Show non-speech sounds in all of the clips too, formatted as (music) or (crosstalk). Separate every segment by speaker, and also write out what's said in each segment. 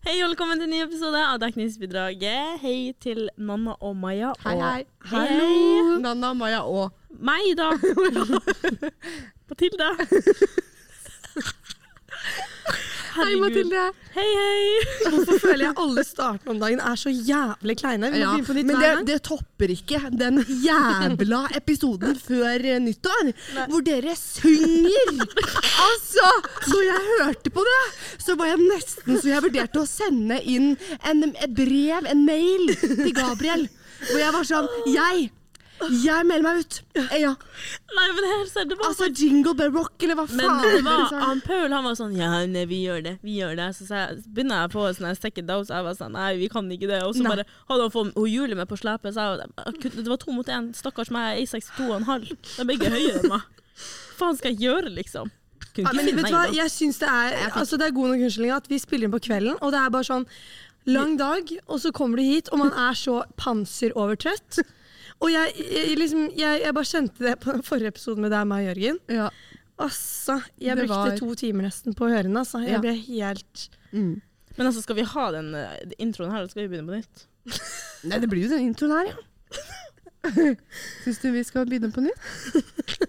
Speaker 1: Hei og velkommen til en ny episode av Dekningsbidraget. Hei til Nanna og Maja.
Speaker 2: Hei,
Speaker 1: og
Speaker 2: hei.
Speaker 1: Hallo.
Speaker 2: Nanna, Maja og
Speaker 1: Meg,
Speaker 2: (laughs)
Speaker 1: da. Matilda.
Speaker 2: Hei,
Speaker 1: Herregud.
Speaker 2: Mathilde.
Speaker 1: Hei, hei.
Speaker 3: Hvorfor føler jeg alle startene om dagen er så jævlig kleine? Vi må
Speaker 2: Ja,
Speaker 3: begynne på nytt
Speaker 2: men det,
Speaker 3: hver gang.
Speaker 2: det topper ikke den jævla episoden før eh, nyttår, hvor dere synger! Altså, når jeg hørte på det, så var jeg nesten så jeg vurderte å sende inn en, et brev, en mail, til Gabriel. Hvor jeg var sånn Jeg! Jeg melder meg ut. Eh, Ja,
Speaker 1: Nei, men her ser det bare
Speaker 2: altså Jingle Bell Rock, eller hva faen?
Speaker 1: Men det var,
Speaker 2: dere sa.
Speaker 1: han Paul han var sånn Ja, nei, vi gjør det. Vi gjør det. Så sa jeg, så begynner jeg på sånn her second dose. Jeg var sånn Nei, vi kan ikke det. Og så
Speaker 2: Nei.
Speaker 1: bare hadde han fått hun Julie med på slepet. Så jeg, jeg kunne- det var to mot én. Stakkars meg, jeg er 62,5. De er begge høyere enn meg. Hva faen skal jeg gjøre, liksom? Kunne
Speaker 3: ja,
Speaker 1: ikke si
Speaker 3: men vet
Speaker 1: nei,
Speaker 3: du hva,
Speaker 1: da.
Speaker 3: jeg syns det er, altså, det er god nok unnskyldning at vi spiller inn på kvelden, og det er bare sånn lang dag, og så kommer du hit, og man er så panserovertrøtt. Og jeg, jeg, liksom, jeg, jeg bare kjente det på den forrige episoden med deg og meg og Jørgen.
Speaker 2: ja.
Speaker 3: Altså, jeg
Speaker 2: Det
Speaker 3: brukte
Speaker 2: var-
Speaker 3: to timer nesten på å høre den. Altså. Jeg
Speaker 2: Ja.
Speaker 3: ble helt
Speaker 2: Mm.
Speaker 1: Men altså, skal vi ha den eh, introen her, eller skal vi begynne på nytt?
Speaker 2: Nei, det blir jo den introen (laughs) her, ja. Syns du vi skal begynne på nytt?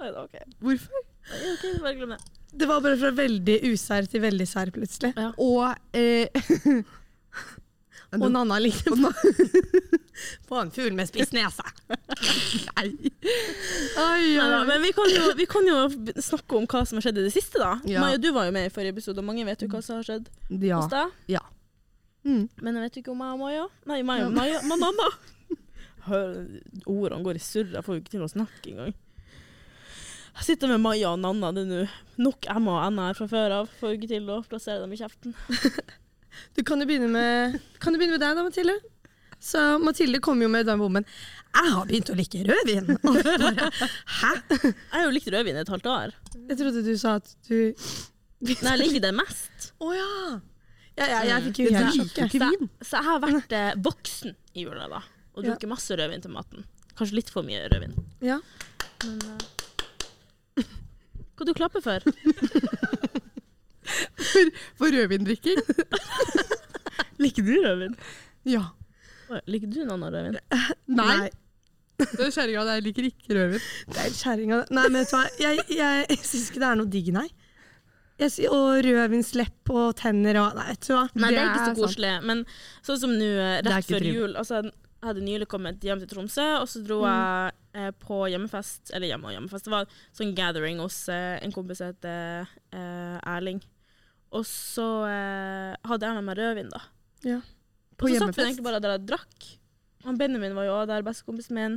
Speaker 1: Nei da, OK.
Speaker 2: Hvorfor?
Speaker 1: Ja, ok, bare glem det.
Speaker 3: Det var bare fra veldig usær til veldig sær plutselig.
Speaker 2: Og eh,
Speaker 3: Og Nanna ligner (laughs)
Speaker 2: Nanna-
Speaker 3: på en fugl med spiss nese.
Speaker 2: Nei.
Speaker 3: Oi,
Speaker 1: Nei, da,
Speaker 3: oi, oi.
Speaker 1: men vi kan, jo, vi kan jo be- snakke om hva som har skjedd i det siste, da.
Speaker 2: Ja.
Speaker 1: Maja, du var jo med i forrige episode, og mange vet jo hva som har skjedd
Speaker 2: Ja.
Speaker 1: hos deg.
Speaker 2: ja. Mm.
Speaker 1: Men jeg vet ikke om jeg og Maja Nei, meg og Maja, men Anna. (laughs) Hør, ordene går i surr. Jeg får jo ikke til å snakke engang. Jeg sitter med Maja og Nanna det er nå. Nok Emma og Anna her fra før av. Får jo ikke til å plassere dem i kjeften.
Speaker 3: Du kan jo begynne med, kan du begynne med deg da, Mathilde. Så Mathilde kom jo med den bomben. Jeg har begynt å like rødvin! (laughs) Og jeg bare, Hæ?
Speaker 1: Jeg har jo likt rødvin i et halvt (laughs) år.
Speaker 3: Jeg trodde du sa at du
Speaker 1: Men jeg liker det mest.
Speaker 3: Å ja. Ja, ja! Jeg fikk jo
Speaker 2: Jeg
Speaker 3: helt
Speaker 2: liker
Speaker 3: sjokk. jeg.
Speaker 2: ikke vin.
Speaker 1: Så jeg har vært eh, voksen i jula, da. Og
Speaker 3: Ja.
Speaker 1: drukket masse rødvin til maten. Kanskje litt for mye rødvin.
Speaker 3: Ja.
Speaker 1: Men eh, (laughs) Hva du klapper for?
Speaker 2: For rødvindrikking?
Speaker 1: (laughs) Liker du rødvin?
Speaker 2: Ja.
Speaker 1: Oi, Liker du noen annen rødvin?
Speaker 2: Nei. Den kjerringa der liker ikke rødvin.
Speaker 3: Det er kjerringa Nei, men vet du hva, jeg, jeg, jeg syns ikke det er noe digg, nei. Jeg, sy- og rødvinslepp og tenner og Nei, vet du hva.
Speaker 1: Nei, det,
Speaker 2: Det
Speaker 1: er ikke
Speaker 2: er
Speaker 1: så koselig. Men sånn som nå, eh,
Speaker 2: Det er
Speaker 1: rett
Speaker 2: ikke
Speaker 1: før
Speaker 2: trivelig. Mm.
Speaker 1: jul altså, Jeg hadde nylig kommet hjem til Tromsø, og så dro jeg eh, på hjemmefest. Eller hjemme og hjemmefest. Det var sånn gathering hos eh, en kompis som heter eh, Erling. Og så eh, hadde jeg med meg rødvin, da.
Speaker 3: Ja.
Speaker 2: På
Speaker 1: og så satt vi
Speaker 2: hjemmefest?
Speaker 1: egentlig bare der og drakk. Han Benjamin var jo også der, bestekompisen min.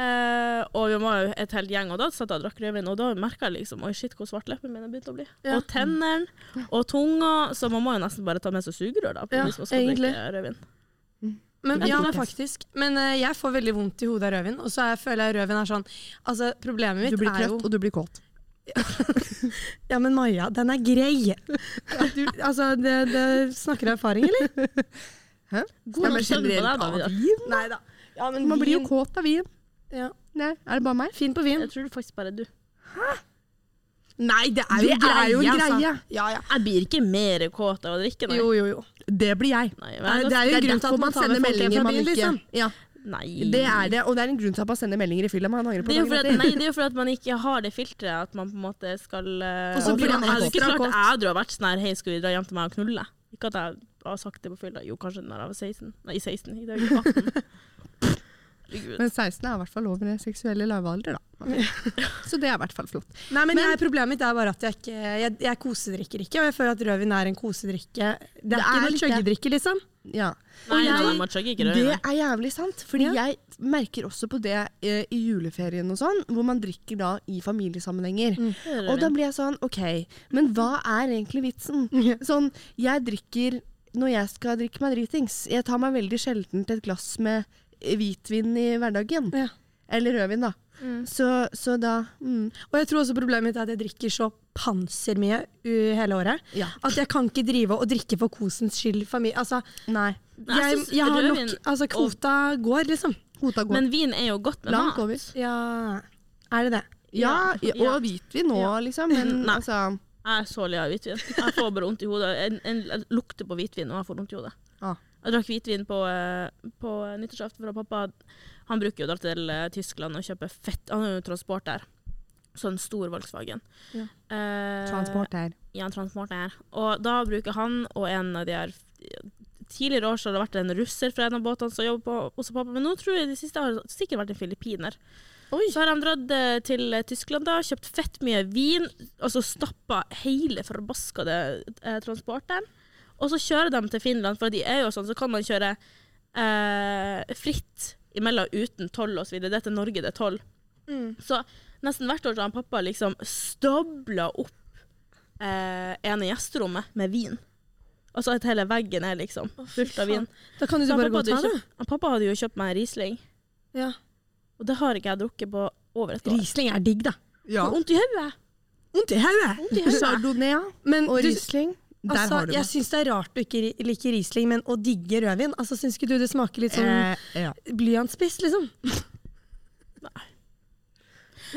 Speaker 1: Eh, og vi var jo et helt gjeng, og da satt jeg og drakk rødvin, og da merka jeg liksom Oi, shit, hvor svart leppene mine begynte å bli.
Speaker 3: Ja.
Speaker 1: Og tennene og tunga, så man må jo nesten bare ta med seg sugerør, da.
Speaker 3: Ja,
Speaker 1: hvis man skal
Speaker 3: egentlig.
Speaker 1: drikke rødvin.
Speaker 3: Men,
Speaker 2: Jeg
Speaker 3: ja,
Speaker 2: liker
Speaker 3: men
Speaker 2: det.
Speaker 3: faktisk. Men eh, jeg får veldig vondt i hodet av rødvin. Og så er- føler jeg rødvin er sånn Altså, problemet mitt
Speaker 2: Du blir
Speaker 3: er jo
Speaker 2: trøtt, og du blir kåt.
Speaker 3: Ja, men Maja, den er grei. Du, altså, det, det snakker erfaring, eller?
Speaker 1: God nok søvn på deg, da, Vidar.
Speaker 2: vin?
Speaker 3: Nei da. Ja, men
Speaker 2: Man blir jo kåt av vin.
Speaker 3: Ja.
Speaker 2: Nei, er det bare meg?
Speaker 3: Fin på vin.
Speaker 1: Jeg tror faktisk bare du.
Speaker 3: Nei, det er
Speaker 2: Det er jo en
Speaker 3: altså.
Speaker 2: greie.
Speaker 3: Ja, ja.
Speaker 1: Jeg blir ikke mer kåt av å drikke, nei.
Speaker 3: Jo, jo, jo.
Speaker 2: Det blir jeg.
Speaker 1: Nei,
Speaker 3: Nei,
Speaker 1: men altså, jeg
Speaker 3: det er jo en grunn til
Speaker 2: derfor
Speaker 3: at man
Speaker 2: tar
Speaker 3: sender
Speaker 2: med folk hjem fra
Speaker 3: meldinger man
Speaker 2: byen,
Speaker 3: ikke-
Speaker 2: Ja,
Speaker 1: liksom. nei.
Speaker 2: det er det. Og det er en grunn til at man sender meldinger i fylla man angrer på.
Speaker 1: Det er jo
Speaker 2: dagen
Speaker 1: fordi at,
Speaker 2: etter.
Speaker 1: nei, det er jo fordi at man ikke har det filteret at man på en måte skal eh,
Speaker 3: Og så
Speaker 1: og
Speaker 3: blir
Speaker 1: fordi
Speaker 3: man
Speaker 1: Jeg hadde ikke
Speaker 3: ekstra
Speaker 1: klart
Speaker 3: kåt.
Speaker 1: at jeg hadde vært sånn her Hei, skal vi dra hjem til meg og knulle? Ikke at jeg har sagt det på fylla. Jo, kanskje når jeg var 16. Nei, 16. I dag er jeg
Speaker 2: (laughs)
Speaker 1: 18. Herregud.
Speaker 2: Men 16 er i hvert fall over seksuelle lavalder, da. Så det er i hvert fall flott.
Speaker 3: Nei, men, jeg, Problemet mitt er bare at jeg, ikke, jeg, jeg kosedrikker ikke. Og jeg føler at rødvin er en kosedrikke. Det er, ikke
Speaker 2: er
Speaker 3: noe
Speaker 2: litt det.
Speaker 3: chøggedrikke, liksom.
Speaker 2: Ja.
Speaker 1: Nei,
Speaker 2: jeg-
Speaker 1: nei, man chugger ikke
Speaker 2: Det
Speaker 1: rødvin.
Speaker 2: er jævlig sant, fordi
Speaker 3: Ja.
Speaker 2: jeg merker også på det eh, i juleferien og sånn, hvor man drikker da i familiesammenhenger. Og da blir jeg sånn, ok, men hva er egentlig vitsen?
Speaker 3: Ja.
Speaker 2: Sånn, jeg drikker, når jeg skal drikke meg dritings, jeg tar meg veldig sjelden til et glass med eh, hvitvin i hverdagen.
Speaker 3: Ja.
Speaker 2: Eller rødvin da. Så, så da, mm,
Speaker 3: Og jeg tror også problemet mitt er at jeg drikker så pansermye uh, hele året.
Speaker 2: ja.
Speaker 3: At jeg kan ikke drive og drikke for kosens skyld. Familie. Altså,
Speaker 2: Nei,
Speaker 1: jeg
Speaker 3: jeg,
Speaker 1: synes
Speaker 3: jeg har
Speaker 1: rødvin
Speaker 3: nok Altså,
Speaker 1: og-
Speaker 3: kvota går, liksom.
Speaker 2: hota går.
Speaker 1: Men vin er jo godt med
Speaker 2: Langt
Speaker 1: mat.
Speaker 2: over.
Speaker 3: Ja Er det det?
Speaker 2: Ja,
Speaker 1: Ja.
Speaker 2: og hvitvin nå,
Speaker 1: Ja.
Speaker 2: liksom, men (laughs)
Speaker 1: Nei.
Speaker 2: altså...
Speaker 1: Jeg er så lei av hvitvin. Jeg får bare vondt i hodet. Jeg, jeg, jeg lukter på hvitvin, og jeg får vondt i hodet.
Speaker 2: Ah.
Speaker 1: Jeg drakk hvitvin på, eh, på nyttårsaften fra pappa. Han bruker jo å dra til eh, Tyskland og kjøpe fett. Han har jo transport der. Sånn stor Volkswagen.
Speaker 3: Ja.
Speaker 1: Eh,
Speaker 2: Transport her.
Speaker 1: Ja, transport er. Og da bruker han og en av de her Tidligere år så har det vært en russer fra en av båtene som jobber på hos pappa, men nå tror jeg de siste har det sikkert vært en filippiner. Så har han dratt eh, til eh, Tyskland da, kjøpt fett mye vin, og så stappa hele forbaskede eh, transporteren. Og så kjører de til Finland, for de er jo sånn, så kan man kjøre eh, fritt imellom uten toll osv. Det er til Norge det er toll.
Speaker 3: Mm.
Speaker 1: Så nesten hvert år så har han pappa liksom stabla opp eh, ene gjesterommet med vin. Altså at hele veggen er liksom fullt av vin.
Speaker 3: Da kan du
Speaker 1: Så han
Speaker 3: bare
Speaker 1: pappa,
Speaker 3: gå
Speaker 1: hadde
Speaker 3: og ta
Speaker 1: jo
Speaker 3: det.
Speaker 1: kjøpt, han pappa hadde jo kjøpt meg en Riesling,
Speaker 3: Ja.
Speaker 1: og det har ikke jeg drukket på over et år.
Speaker 3: Riesling er digg, da.
Speaker 2: Ja.
Speaker 1: Og Vondt i hodet!
Speaker 2: Vondt i hodet!
Speaker 1: Vondt i hodet.
Speaker 2: Chardonnay
Speaker 3: Men
Speaker 2: og
Speaker 3: du,
Speaker 2: Riesling. Der
Speaker 3: altså,
Speaker 2: har du
Speaker 3: jeg
Speaker 2: meg.
Speaker 3: syns det er rart du ikke ri- liker Riesling, men å digge rødvin altså, Syns ikke du det smaker litt sånn
Speaker 2: Eh, ja.
Speaker 3: blyantspiss, liksom?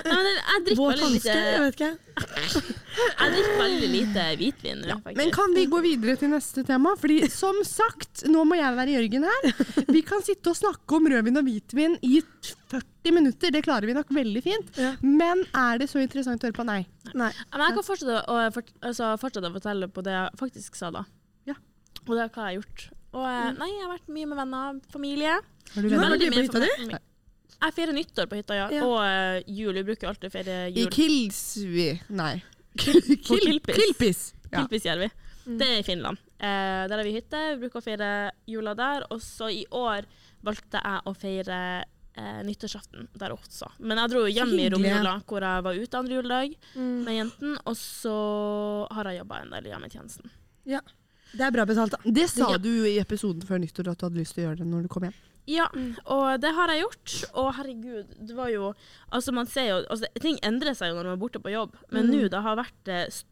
Speaker 1: Nei, men jeg drikker eh,
Speaker 3: Våt
Speaker 1: veldig
Speaker 3: hanske,
Speaker 1: lite,
Speaker 3: jeg vet ikke.
Speaker 1: jeg drikker veldig lite hvitvin nå, faktisk.
Speaker 2: Men kan vi gå videre til neste tema? Fordi som sagt, nå må jeg være Jørgen (laughs) her. Vi kan sitte og snakke om rødvin og hvitvin i 40 minutter, det klarer vi nok veldig fint.
Speaker 3: Ja.
Speaker 2: Men er det så interessant å høre på? Nei.
Speaker 3: Nei.
Speaker 1: Ja, Men jeg kan fortsette å, fort, altså, fortsette å fortelle på det jeg faktisk sa da.
Speaker 2: Ja.
Speaker 1: Og det er hva jeg har gjort. Og, eh, nei, jeg har vært mye med venner, familie.
Speaker 2: Har du
Speaker 3: Hva
Speaker 2: venner?
Speaker 3: var
Speaker 1: Veldig
Speaker 3: det
Speaker 1: mye
Speaker 3: på hytta di?
Speaker 1: familie. Jeg feirer nyttår på hytta, ja.
Speaker 3: Ja.
Speaker 1: Og eh, jul. Vi bruker jo alltid å feire
Speaker 2: I
Speaker 1: jul.
Speaker 2: Kilsvi Nei.
Speaker 1: På Kilpis.
Speaker 2: Kilpis. Ja.
Speaker 1: Kilpisjärvi. Det er i Finland. Eh, der har vi hytte. Vi bruker å feire jula der. Og så i år valgte jeg å feire eh, nyttårsaften der også. Men jeg dro jo hjem i
Speaker 3: hyggelig.
Speaker 1: romjula, hvor jeg var ute andre juledag
Speaker 3: Mm.
Speaker 1: med jentene. Og så har jeg jobba en del i hjemmetjenesten.
Speaker 3: Ja. Det er bra betalt, da.
Speaker 2: Det sa
Speaker 1: Ja.
Speaker 2: du i episoden før nyttår at du hadde lyst til å gjøre det når du kom hjem.
Speaker 1: Ja, og det har jeg gjort. Og herregud, det var jo Altså, man ser jo altså, Ting endrer seg jo når man er borte på jobb, men
Speaker 3: Mm.
Speaker 1: nå det har vært eh, st-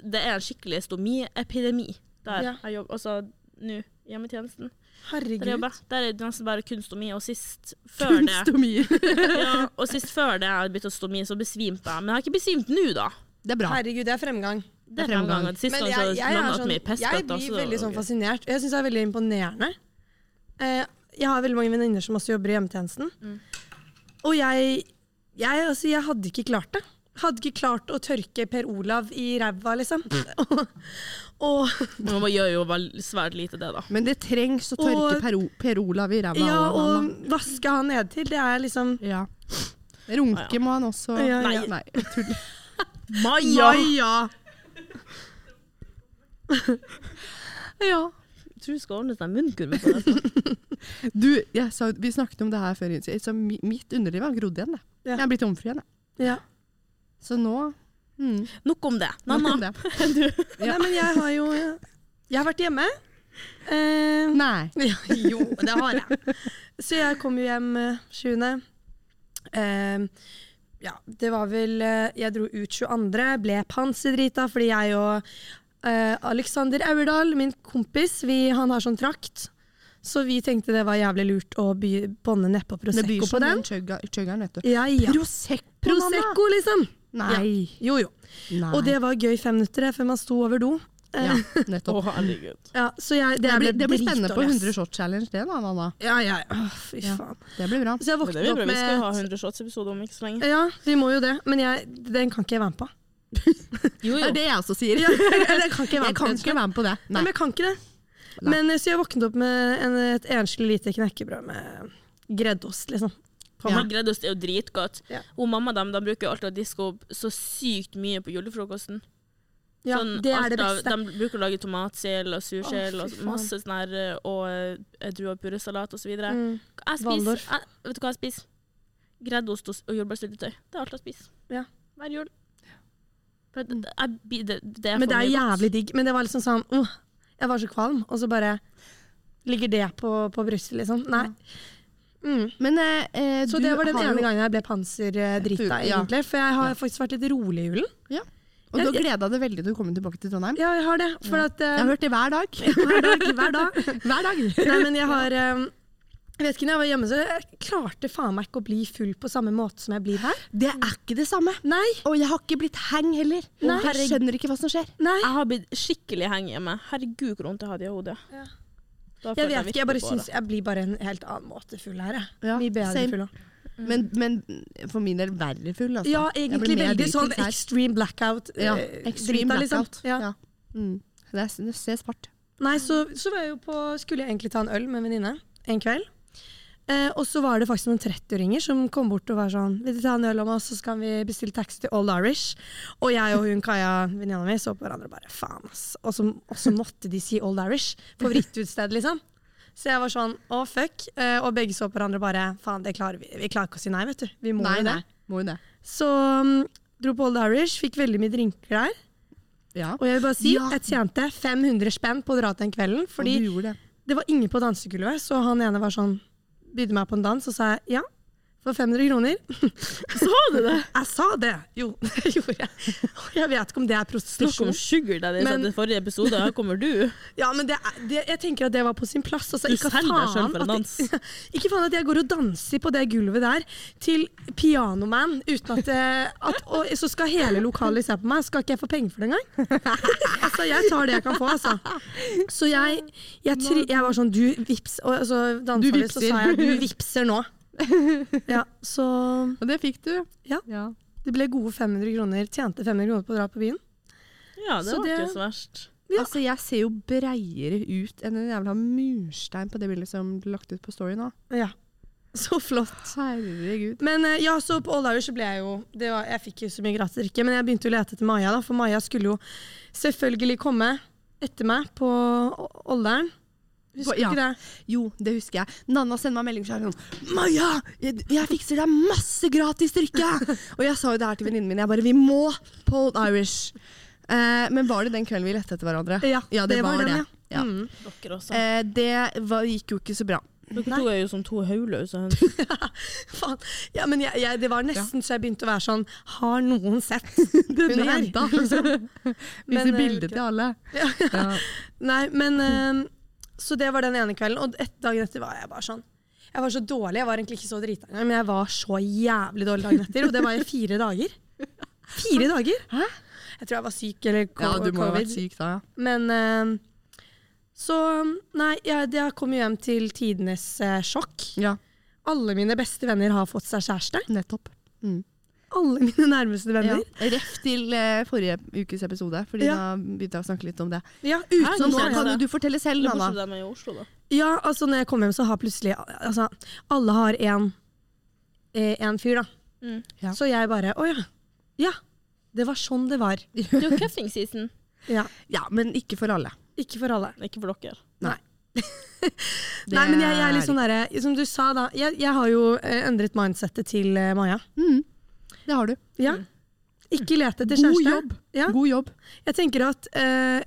Speaker 1: Det er en skikkelig stomiepidemi der
Speaker 3: Ja.
Speaker 1: jeg jobber. Altså nå, hjemmetjenesten. Der, jeg
Speaker 3: Herregud.
Speaker 1: jobber. der er det nesten bare kun stomi, og
Speaker 3: (laughs)
Speaker 1: sist før det
Speaker 2: Kunstomier.
Speaker 1: ja, Og sist før det jeg hadde begynt å stomi, så besvimte jeg. Men jeg har ikke besvimt nå, da.
Speaker 2: Det er bra.
Speaker 3: Herregud, det er fremgang.
Speaker 1: Det
Speaker 2: Det
Speaker 1: er
Speaker 2: er
Speaker 1: fremgang.
Speaker 2: fremgang.
Speaker 1: Sist
Speaker 3: Men
Speaker 1: gang så hadde jeg
Speaker 3: er
Speaker 1: blandet
Speaker 3: sånn-
Speaker 1: mye pest.
Speaker 3: jeg blir veldig sånn fascinert. Jeg syns det er veldig imponerende. Eh, jeg har veldig mange venninner som også jobber i hjemmetjenesten.
Speaker 1: Mm.
Speaker 3: Og jeg, jeg, altså, jeg hadde ikke klart det. Hadde ikke klart å tørke Per Olav i ræva, liksom.
Speaker 1: Mm.
Speaker 3: (laughs) og, og,
Speaker 1: Man gjør jo vel svært lite det, da.
Speaker 2: Men det trengs å tørke
Speaker 3: Og-
Speaker 2: Per, o per Olav i ræva.
Speaker 3: ja,
Speaker 2: av han,
Speaker 3: og vaske han nedentil. Det er liksom
Speaker 2: da. ja. Runke må han også.
Speaker 3: Ja, ja.
Speaker 2: Nei, tull.
Speaker 1: Maja!
Speaker 2: Maja.
Speaker 3: Ja.
Speaker 1: Jeg tror du skal ordne deg munnkurv på det.
Speaker 3: (laughs)
Speaker 2: Du, jeg sa, vi snakket om det her før, Insi, så mi- mitt underliv har grodd igjen. Det.
Speaker 3: Ja.
Speaker 2: Jeg er blitt omfri igjen. jeg.
Speaker 3: ja.
Speaker 2: Så nå mm,
Speaker 1: Nok om det.
Speaker 2: nok
Speaker 1: Nanna,
Speaker 2: om det.
Speaker 3: (laughs) Nei, men jeg har jo eh, Jeg har vært hjemme. Eh,
Speaker 2: Nei.
Speaker 3: (laughs) Ja, jo, det har jeg. Så jeg kom jo hjem eh, 7. Eh, ja, det var vel eh, Jeg dro ut 22., ble panserdrita fordi jeg og eh, Alexander Aurdal, min kompis, vi, han har sånn trakt. Så vi tenkte det var jævlig lurt å by- bånde nedpå Prosecco på den.
Speaker 2: Chugger'n, vet du.
Speaker 3: Ja, ja.
Speaker 2: Prosecco, mamma!
Speaker 3: Prosecco, liksom.
Speaker 2: Nei.
Speaker 3: Jo, jo.
Speaker 2: Nei.
Speaker 3: Og det var gøy fem minutter eh, før man sto over do.
Speaker 2: ja, nettopp.
Speaker 1: herregud.
Speaker 3: Ja, så jeg, det,
Speaker 2: Det blir,
Speaker 3: ble
Speaker 2: det blir spennende på
Speaker 3: dritdårlig, ass.
Speaker 2: 100 shot challenge, det da, Nanna.
Speaker 3: Ja, ja, ja. Fy
Speaker 2: Ja.
Speaker 3: faen.
Speaker 2: Det blir bra.
Speaker 3: Så jeg
Speaker 1: Men det
Speaker 3: våknet
Speaker 1: blir
Speaker 3: opp
Speaker 1: bra. Vi
Speaker 3: med
Speaker 1: skal jo ha 100 shots-episode om ikke så lenge.
Speaker 3: Ja, vi må jo det, men jeg, den kan ikke jeg være med på. (laughs)
Speaker 1: Jo,
Speaker 2: Det er det jeg også sier.
Speaker 3: Ja, eller jeg kan ikke
Speaker 2: Jeg
Speaker 3: være med på
Speaker 2: kan
Speaker 3: den.
Speaker 2: ikke være med på det.
Speaker 3: Nei,
Speaker 2: Nei.
Speaker 3: men jeg kan ikke det.
Speaker 2: Nei.
Speaker 3: Men eh, Så jeg våknet opp med en, et enslig lite knekkebrød med greddost, liksom.
Speaker 1: Gammel greddost er jo dritgodt.
Speaker 3: Ja.
Speaker 1: Hun mamma dem, de bruker jo alltid å diske opp så sykt mye på julefrokosten.
Speaker 3: Ja,
Speaker 1: Sånn,
Speaker 3: det
Speaker 1: alt
Speaker 3: er det
Speaker 1: av-
Speaker 3: beste.
Speaker 1: de bruker å lage tomatsil og sursild
Speaker 3: Å,
Speaker 1: og
Speaker 3: fy faen.
Speaker 1: masse sånn her eh, og eh, drue- og purresalat osv. videre
Speaker 3: Mm.
Speaker 1: Jeg spiser
Speaker 3: Waldorf.
Speaker 1: jeg, Vet du hva jeg spiser? Greddost og s- og jordbærsyltetøy. Det er alt jeg spiser.
Speaker 3: Ja.
Speaker 1: Hver jul. For det, det, jeg blir- det, det er
Speaker 3: Men
Speaker 1: for
Speaker 3: det er
Speaker 1: mye godt.
Speaker 3: jævlig digg. Men det var liksom sånn åh, Jeg var så kvalm, og så bare ligger det på, på brystet, liksom. Nei. Mm.
Speaker 2: Men eh, eh,
Speaker 3: Så
Speaker 2: du
Speaker 3: det var den
Speaker 2: har jo-
Speaker 3: ene gangen jeg ble panserdrita,
Speaker 2: Du- ja.
Speaker 3: egentlig. For jeg har
Speaker 2: Ja.
Speaker 3: faktisk vært litt rolig i julen.
Speaker 2: Og du har gleda deg veldig til å komme tilbake til Trondheim.
Speaker 3: Ja, jeg har det. For at
Speaker 2: Jeg
Speaker 3: eh,
Speaker 2: har hørt det (laughs) hver dag.
Speaker 3: hver dag, hver dag
Speaker 2: Hver dag.
Speaker 3: Nei, men jeg har eh, Jeg vet ikke, når jeg var hjemme, så jeg klarte faen meg ikke å bli full på samme måte som jeg blir her.
Speaker 2: Det er ikke det samme.
Speaker 3: Nei.
Speaker 2: Og jeg har ikke blitt hang heller.
Speaker 3: Nei.
Speaker 2: Jeg skjønner ikke hva som skjer.
Speaker 3: Nei.
Speaker 1: Jeg har blitt skikkelig heng hjemme. Herregud, hvor vondt jeg hadde i hodet.
Speaker 3: Ja.
Speaker 1: Da følte
Speaker 3: Jeg vet ikke, jeg
Speaker 1: virkelig på det.
Speaker 3: bare syns jeg blir bare en helt annen måte full her. jeg.
Speaker 2: Ja,
Speaker 3: Mye bedre
Speaker 2: same.
Speaker 3: full også.
Speaker 2: Men, men for min del verre full, altså.
Speaker 3: Ja,
Speaker 2: Jeg
Speaker 3: egentlig
Speaker 2: blir mer
Speaker 3: veldig sånn
Speaker 2: dritings her.
Speaker 3: extreme blackout.
Speaker 2: Ja,
Speaker 3: eh,
Speaker 2: extreme
Speaker 3: drita, liksom.
Speaker 2: blackout.
Speaker 3: Ja.
Speaker 2: Ja. Mm. Det, er, det ser svart.
Speaker 3: Nei, så, så var jeg jo på, skulle jeg egentlig ta en øl med en venninne en kveld. Eh, og så var det faktisk noen 30-åringer som kom bort og var sånn Vil du ta en øl om oss, så skal vi bestille taxi til Old Irish? Og jeg og hun Kaja, venninna mi, så på hverandre og bare faen, ass. Og så, og så måtte de si Old Irish. Favorittutstedet, liksom. Så jeg var sånn å, fuck. Eh, og begge så på hverandre og bare faen, det klarer vi. Vi klarer ikke å si nei, vet du. Vi må jo det.
Speaker 2: Må jo det.
Speaker 3: Så mm, dro på Old Irish, fikk veldig mye drinker der.
Speaker 2: Ja.
Speaker 3: Og jeg vil bare si,
Speaker 2: Ja.
Speaker 3: jeg tjente 500 spenn på å dra til den kvelden. Fordi
Speaker 2: og du gjorde det.
Speaker 3: det var ingen på dansegulvet, så han ene var sånn Bydde meg på en dans, og sa jeg ja. For 500 kroner.
Speaker 1: Sa du det?
Speaker 3: Jeg (laughs) sa det! Jo, (laughs) det gjorde jeg. Og jeg vet ikke om det er
Speaker 1: Snakk om
Speaker 3: prostitusjon.
Speaker 1: sugar daddy
Speaker 3: Men-
Speaker 1: men... i forrige episode. Her kommer
Speaker 3: (laughs)
Speaker 1: du.
Speaker 3: Ja, men det er, det, jeg tenker at det var på sin plass. Altså,
Speaker 1: Du
Speaker 3: ikke
Speaker 1: selger deg selv
Speaker 3: faen
Speaker 1: for en
Speaker 3: at-
Speaker 1: dans.
Speaker 3: (laughs) Ikke faen at jeg går og danser på det gulvet der til Pianoman uten at, det- at Og så skal hele lokalet se på meg. Skal ikke jeg få penger for det engang? (laughs) altså, jeg tar det jeg kan få, altså. Så jeg, jeg, tri, jeg var sånn Du vips, og så dansa
Speaker 2: Du
Speaker 3: vi, så
Speaker 2: vipser.
Speaker 3: sa
Speaker 2: (laughs)
Speaker 3: jeg du vipser nå. Ja, så
Speaker 2: Og det fikk du.
Speaker 3: Ja. det ble gode 500 kroner. Tjente 500 kroner på å dra på byen.
Speaker 1: Ja, det
Speaker 3: Så
Speaker 1: var
Speaker 3: det-
Speaker 1: ikke så verst.
Speaker 3: Ja.
Speaker 2: Altså, jeg ser jo breiere ut enn en jævla murstein på det bildet som ble lagt ut på Story nå.
Speaker 3: Ja, så flott.
Speaker 2: Herregud.
Speaker 3: Men eh, ja, så på Old Irish så ble jeg jo det var, Jeg fikk jo så mye gratis drikke, men jeg begynte jo å lete etter Maja, da, for Maja skulle jo selvfølgelig komme etter meg på O- Olderen. Husker
Speaker 2: På-
Speaker 3: du
Speaker 2: ja.
Speaker 3: ikke det?
Speaker 2: Jo, det husker jeg. Nanna sender meg melding og sier sånn Maja, jeg, jeg fikser deg masse gratis
Speaker 3: (laughs)
Speaker 2: drikke! og jeg sa jo det her til venninnen min. Jeg bare Vi må på Old Irish. Eh, men var det den kvelden vi lette etter hverandre?
Speaker 3: Ja,
Speaker 2: det,
Speaker 3: det var
Speaker 2: var,
Speaker 3: den,
Speaker 2: det. Ja.
Speaker 3: Mm.
Speaker 1: Dere også.
Speaker 2: Eh, det var, gikk jo ikke så bra.
Speaker 3: Eh,
Speaker 1: Dere to er jo som to
Speaker 3: (laughs)
Speaker 1: hodeløse høns.
Speaker 3: Faen. Ja, men jeg, jeg, det var nesten så jeg begynte å være sånn Har noen sett
Speaker 2: Hun
Speaker 3: hun
Speaker 2: er
Speaker 3: her?
Speaker 2: da,
Speaker 3: (laughs)
Speaker 2: liksom.
Speaker 3: Men,
Speaker 2: (laughs) Viser
Speaker 3: eh,
Speaker 2: bilder
Speaker 3: ikke-
Speaker 2: til alle.
Speaker 3: Ja. (laughs)
Speaker 2: Ja.
Speaker 3: Nei, men eh, Så det var den ene kvelden, og et, dagen etter var jeg bare sånn. Jeg var så dårlig. Jeg var egentlig ikke så drita engang, men jeg var så jævlig dårlig dagen etter. Og det var i fire
Speaker 2: (laughs)
Speaker 3: dager. Fire dager!
Speaker 2: Hæ?
Speaker 3: Jeg tror jeg var syk eller ko-
Speaker 2: ja, du må ha
Speaker 3: covid.
Speaker 2: vært syk da, ja.
Speaker 3: Men eh, så Nei, jeg, jeg kom jo hjem til tidenes eh, sjokk.
Speaker 2: Ja,
Speaker 3: Alle mine beste venner har fått seg kjæreste.
Speaker 2: nettopp. Mm.
Speaker 3: Alle mine nærmeste
Speaker 2: Ja.
Speaker 3: venner.
Speaker 2: Ref til eh, forrige ukes episode, Fordi
Speaker 3: Ja.
Speaker 2: da begynte jeg å snakke litt om det.
Speaker 3: Ja,
Speaker 1: Hæ,
Speaker 2: Så
Speaker 3: utenom
Speaker 2: nå
Speaker 1: Hvorfor er
Speaker 2: kan jo
Speaker 1: det?
Speaker 2: du fortelle selv,
Speaker 1: Eller
Speaker 2: Nanna.
Speaker 1: bortsett fra dem i Oslo, da.
Speaker 3: Ja, altså når jeg kom hjem, så har plutselig altså, Alle har en, eh, en fyr, da.
Speaker 1: Mm.
Speaker 2: Ja.
Speaker 3: Så jeg bare Å ja. Ja. Det var sånn det var.
Speaker 1: Det er jo cuffing season.
Speaker 3: Ja.
Speaker 2: Ja, men ikke for alle.
Speaker 3: (laughs) Ikke for alle.
Speaker 1: Ikke for dere.
Speaker 2: Det
Speaker 3: Nei, men jeg, jeg er litt sånn derre Som du sa, da. Jeg, jeg har jo eh, endret mindsettet til eh, Maja.
Speaker 2: Mm. Det har du.
Speaker 3: Ja. Ikke let etter
Speaker 2: Mm. God
Speaker 3: kjæreste.
Speaker 2: jobb.
Speaker 3: Ja.
Speaker 2: God jobb.
Speaker 3: Jeg tenker at eh,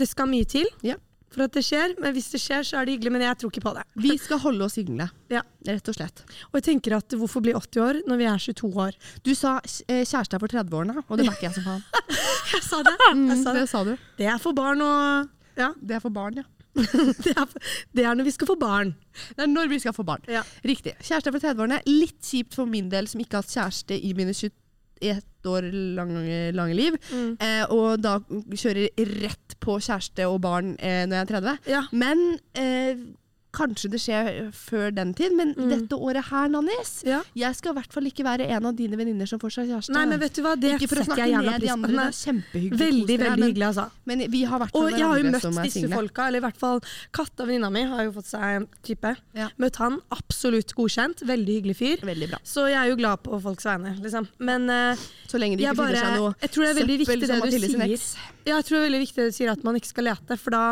Speaker 3: det skal mye til
Speaker 2: Ja.
Speaker 3: for at det skjer. Men hvis det skjer, så er det hyggelig. Men jeg tror ikke på det.
Speaker 2: Vi skal holde oss single,
Speaker 3: Ja.
Speaker 2: rett og slett.
Speaker 3: Og jeg tenker at hvorfor bli 80 år når vi er 22 år?
Speaker 2: Du sa eh, kjæreste er for 30-årene, og det backer jeg som (laughs) faen.
Speaker 3: Jeg sa
Speaker 2: (laughs)
Speaker 3: det.
Speaker 2: Mm,
Speaker 3: Jeg sa det.
Speaker 2: det sa du.
Speaker 3: det er for barn og Ja. (laughs)
Speaker 2: Det er for barn, ja.
Speaker 3: Det er, det er når vi skal få barn.
Speaker 2: Det er når vi skal få barn.
Speaker 3: Ja.
Speaker 2: Riktig. Kjæreste er for 30-årene. Litt kjipt for min del, som ikke har hatt kjæreste i mine 21 år lange, lange liv. Eh, og da kjører rett på kjæreste og barn eh, når jeg er 30.
Speaker 3: Ja.
Speaker 2: Men eh, kanskje det skjer før den tid. Men dette året her, Nannis,
Speaker 3: Ja.
Speaker 2: jeg skal i hvert fall ikke være en av dine venninner som får seg kjæreste.
Speaker 3: Nei, men vet du hva, det
Speaker 2: ikke for å
Speaker 3: setter
Speaker 2: snakke
Speaker 3: jeg gjerne
Speaker 2: ned de
Speaker 3: pris
Speaker 2: andre,
Speaker 3: på.
Speaker 2: det
Speaker 3: Nei,
Speaker 2: er kjempehyggelig.
Speaker 3: Veldig,
Speaker 2: kos dere,
Speaker 3: veldig hyggelig, altså.
Speaker 2: Men, men vi har vært
Speaker 3: Og
Speaker 2: med
Speaker 3: jeg har jo
Speaker 2: hverandre
Speaker 3: møtt
Speaker 2: som er
Speaker 3: disse
Speaker 2: single.
Speaker 3: folka, eller i hvert fall katta venninna mi har jo fått seg en type.
Speaker 2: Ja.
Speaker 3: Møtt han, absolutt godkjent. Veldig hyggelig fyr.
Speaker 2: Veldig bra.
Speaker 3: Så jeg er jo glad på folks vegne, liksom. Men eh,
Speaker 2: Så lenge de
Speaker 3: jeg
Speaker 2: ikke
Speaker 3: bare
Speaker 2: finner seg noe
Speaker 3: Jeg tror det er veldig viktig det
Speaker 2: som
Speaker 3: du
Speaker 2: Mathilde sin
Speaker 3: sier.
Speaker 2: eks.
Speaker 3: Ja, jeg tror det er veldig viktig det du sier, at man ikke skal lete, for da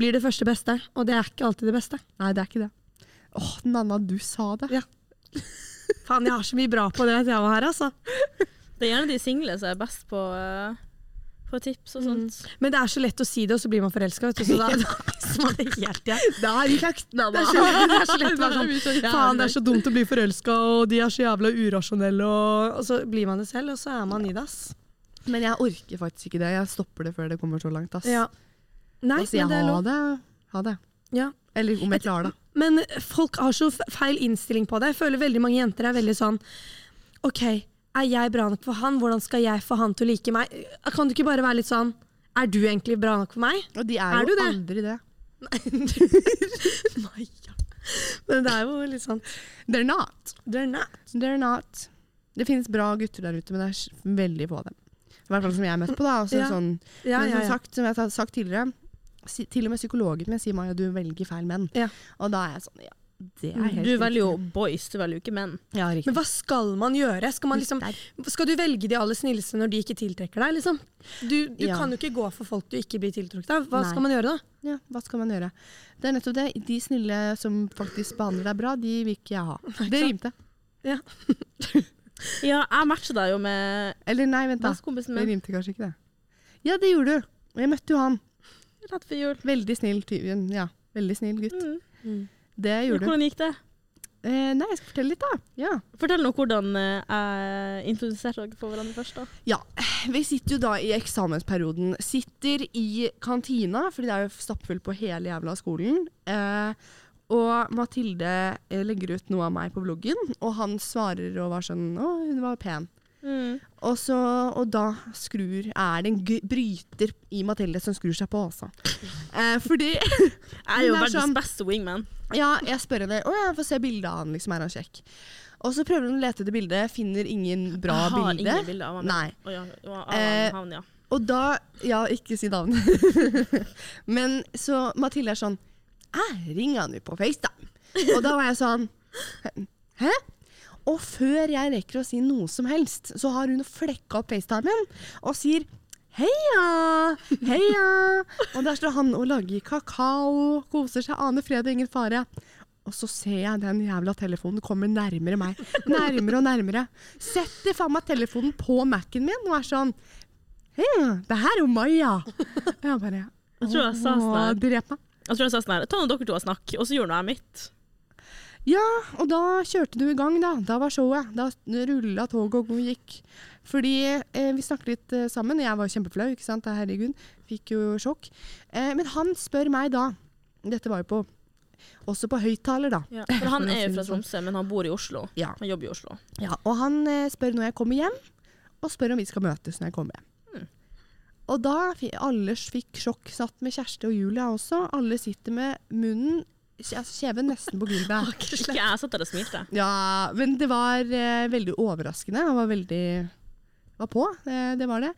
Speaker 3: blir det første beste. Og det er ikke alltid det beste.
Speaker 2: Nei, det er ikke det. Åh, Nanna, du sa det.
Speaker 3: Ja. Faen, jeg har så mye bra på det at jeg var her, altså.
Speaker 1: Det er gjerne de single som er best på, eh, på tips
Speaker 3: Mm.
Speaker 1: og sånt.
Speaker 3: Men det er så lett å si det, og så blir man forelska, vet du.
Speaker 2: (laughs)
Speaker 3: Så da, da mister man det helt igjen.
Speaker 2: Der gikk
Speaker 3: (laughs)
Speaker 2: akten,
Speaker 3: (laughs) Det er så, det er så lett å være
Speaker 1: (laughs)
Speaker 3: sånn Faen, det er så dumt å bli forelska, og de er så jævla urasjonelle, og, og så blir man det selv, og så er man i det, ass.
Speaker 2: Men jeg orker faktisk ikke det. Jeg stopper det før det kommer så langt. Ass.
Speaker 3: Ja. Nei,
Speaker 2: da sier
Speaker 3: men det
Speaker 2: jeg
Speaker 3: er
Speaker 2: ha
Speaker 3: lov.
Speaker 2: det. Ha det.
Speaker 3: Ja.
Speaker 2: Eller om jeg klarer det.
Speaker 3: Men folk har så f- feil innstilling på det. Jeg føler veldig mange jenter er veldig sånn OK, er jeg bra nok for han? Hvordan skal jeg få han til å like meg? Kan du ikke bare være litt sånn Er du egentlig bra nok for meg?
Speaker 2: Og de
Speaker 3: Er
Speaker 2: er,
Speaker 3: du
Speaker 2: jo
Speaker 3: det?
Speaker 2: aldri det.
Speaker 3: (laughs) Men det er jo litt sånn
Speaker 2: They're not.
Speaker 3: They're not.
Speaker 2: They're not. Det finnes bra gutter der ute, men det er s- veldig få av dem. I hvert fall som jeg har møtt på. da. Også,
Speaker 3: Ja.
Speaker 2: sånn,
Speaker 3: Ja,
Speaker 2: men
Speaker 3: ja,
Speaker 2: som,
Speaker 3: ja.
Speaker 2: sagt, som jeg har sagt tidligere, si, til og med psykologen min sier Maja, du velger feil menn.
Speaker 3: Ja. Mm,
Speaker 2: Og da er jeg sånn, ja, det er helt
Speaker 1: Du velger jo
Speaker 2: riktig.
Speaker 1: boys, du velger jo ikke menn.
Speaker 2: Ja, riktig.
Speaker 3: Men hva skal man gjøre? Skal, man liksom, skal du velge de aller snilleste når de ikke tiltrekker deg? Liksom? Du, du
Speaker 2: Ja.
Speaker 3: kan jo ikke gå for folk du ikke blir tiltrukket av. Hva
Speaker 2: Nei.
Speaker 3: skal man gjøre da?
Speaker 2: Ja, hva skal man gjøre? Det er nettopp det. De snille som faktisk behandler deg bra, de vil ikke jeg
Speaker 3: (laughs)
Speaker 2: ha. Det rimte.
Speaker 1: Ja, jeg matcher deg jo med
Speaker 2: Eller nei, vent da.
Speaker 1: bestekompisen
Speaker 2: Det
Speaker 1: min
Speaker 2: rimte kanskje ikke det. Ja, det gjorde du. Og Jeg møtte jo han.
Speaker 1: rett før jul.
Speaker 2: Veldig snill, ty- ja, veldig snill gutt.
Speaker 1: Mm.
Speaker 2: Det gjorde
Speaker 3: Mm.
Speaker 2: du.
Speaker 1: Hvordan gikk det?
Speaker 2: Eh, nei, jeg skal fortelle litt da. Ja.
Speaker 1: Fortell nå hvordan eh, jeg introduserte dere for hverandre først. da.
Speaker 2: Ja, vi sitter jo da i eksamensperioden. Sitter i kantina, fordi det er jo stappfullt på hele jævla skolen. Eh, og Mathilde eh, legger ut noe av meg på bloggen, og han svarer og var sånn Å, hun var pen. Og, så, og da skrur Er det en gr- bryter i Mathilde som skrur seg på, altså. Eh, fordi (laughs)
Speaker 1: Jeg er jo
Speaker 2: Men det er
Speaker 1: verdens
Speaker 2: sånn-
Speaker 1: beste wingman.
Speaker 2: Ja, jeg spør henne. Å, jeg får se bildet av han, liksom. Er han kjekk? Og så prøver hun å lete etter bildet, finner ingen bra
Speaker 1: jeg har
Speaker 2: bilde.
Speaker 1: ingen bilder av han.
Speaker 2: Nei.
Speaker 1: Å ja, ja, av
Speaker 2: Eh,
Speaker 1: han, ja.
Speaker 2: Og da Ja, ikke si navn. (laughs) Men så Mathilde er sånn Jeg ringer han jo på FaceTime. Og da var jeg sånn Hæ? Og før jeg rekker å si noe som helst, så har hun flekka opp FaceTimen og sier Heia! Heia! Og der står han og lager kakao, koser seg, aner fred og ingen fare. Og så ser jeg den jævla telefonen kommer nærmere meg. Nærmere og nærmere. Setter faen meg telefonen på Mac-en min og er sånn Heia, det her er jo Maja! Og jeg bare
Speaker 1: Jeg tror jeg sa
Speaker 2: «Åh,
Speaker 1: sånn her.
Speaker 2: Drep meg.
Speaker 1: Jeg tror jeg sa sånn her, ta nå dere to og snakk, og så gjør nå jeg mitt.
Speaker 2: Ja, og da kjørte du i gang, da. Da var showet. Da rulla toget og gikk. Fordi eh, vi snakket litt eh, sammen, og jeg var kjempeflau, ikke sant. Herregud. Fikk jo sjokk. Eh, men han spør meg da Dette var jo på også på høyttaler, da.
Speaker 1: For
Speaker 2: (laughs)
Speaker 1: han er jo fra
Speaker 2: Sånn.
Speaker 1: Tromsø, men han bor i Oslo.
Speaker 2: Ja.
Speaker 1: Han jobber i Oslo.
Speaker 2: Ja, og han eh, spør når jeg kommer hjem, og spør om vi skal møtes når jeg kommer hjem. Og da fi- alle fikk sjokk, satt med Kjersti og Julia også. Alle sitter med munnen, kje- altså kjeven nesten på
Speaker 1: (laughs)
Speaker 2: gulvet.
Speaker 1: Ikke jeg satt der og smilte.
Speaker 2: Ja, men det var eh, veldig overraskende. Han var veldig var på, eh, det var det.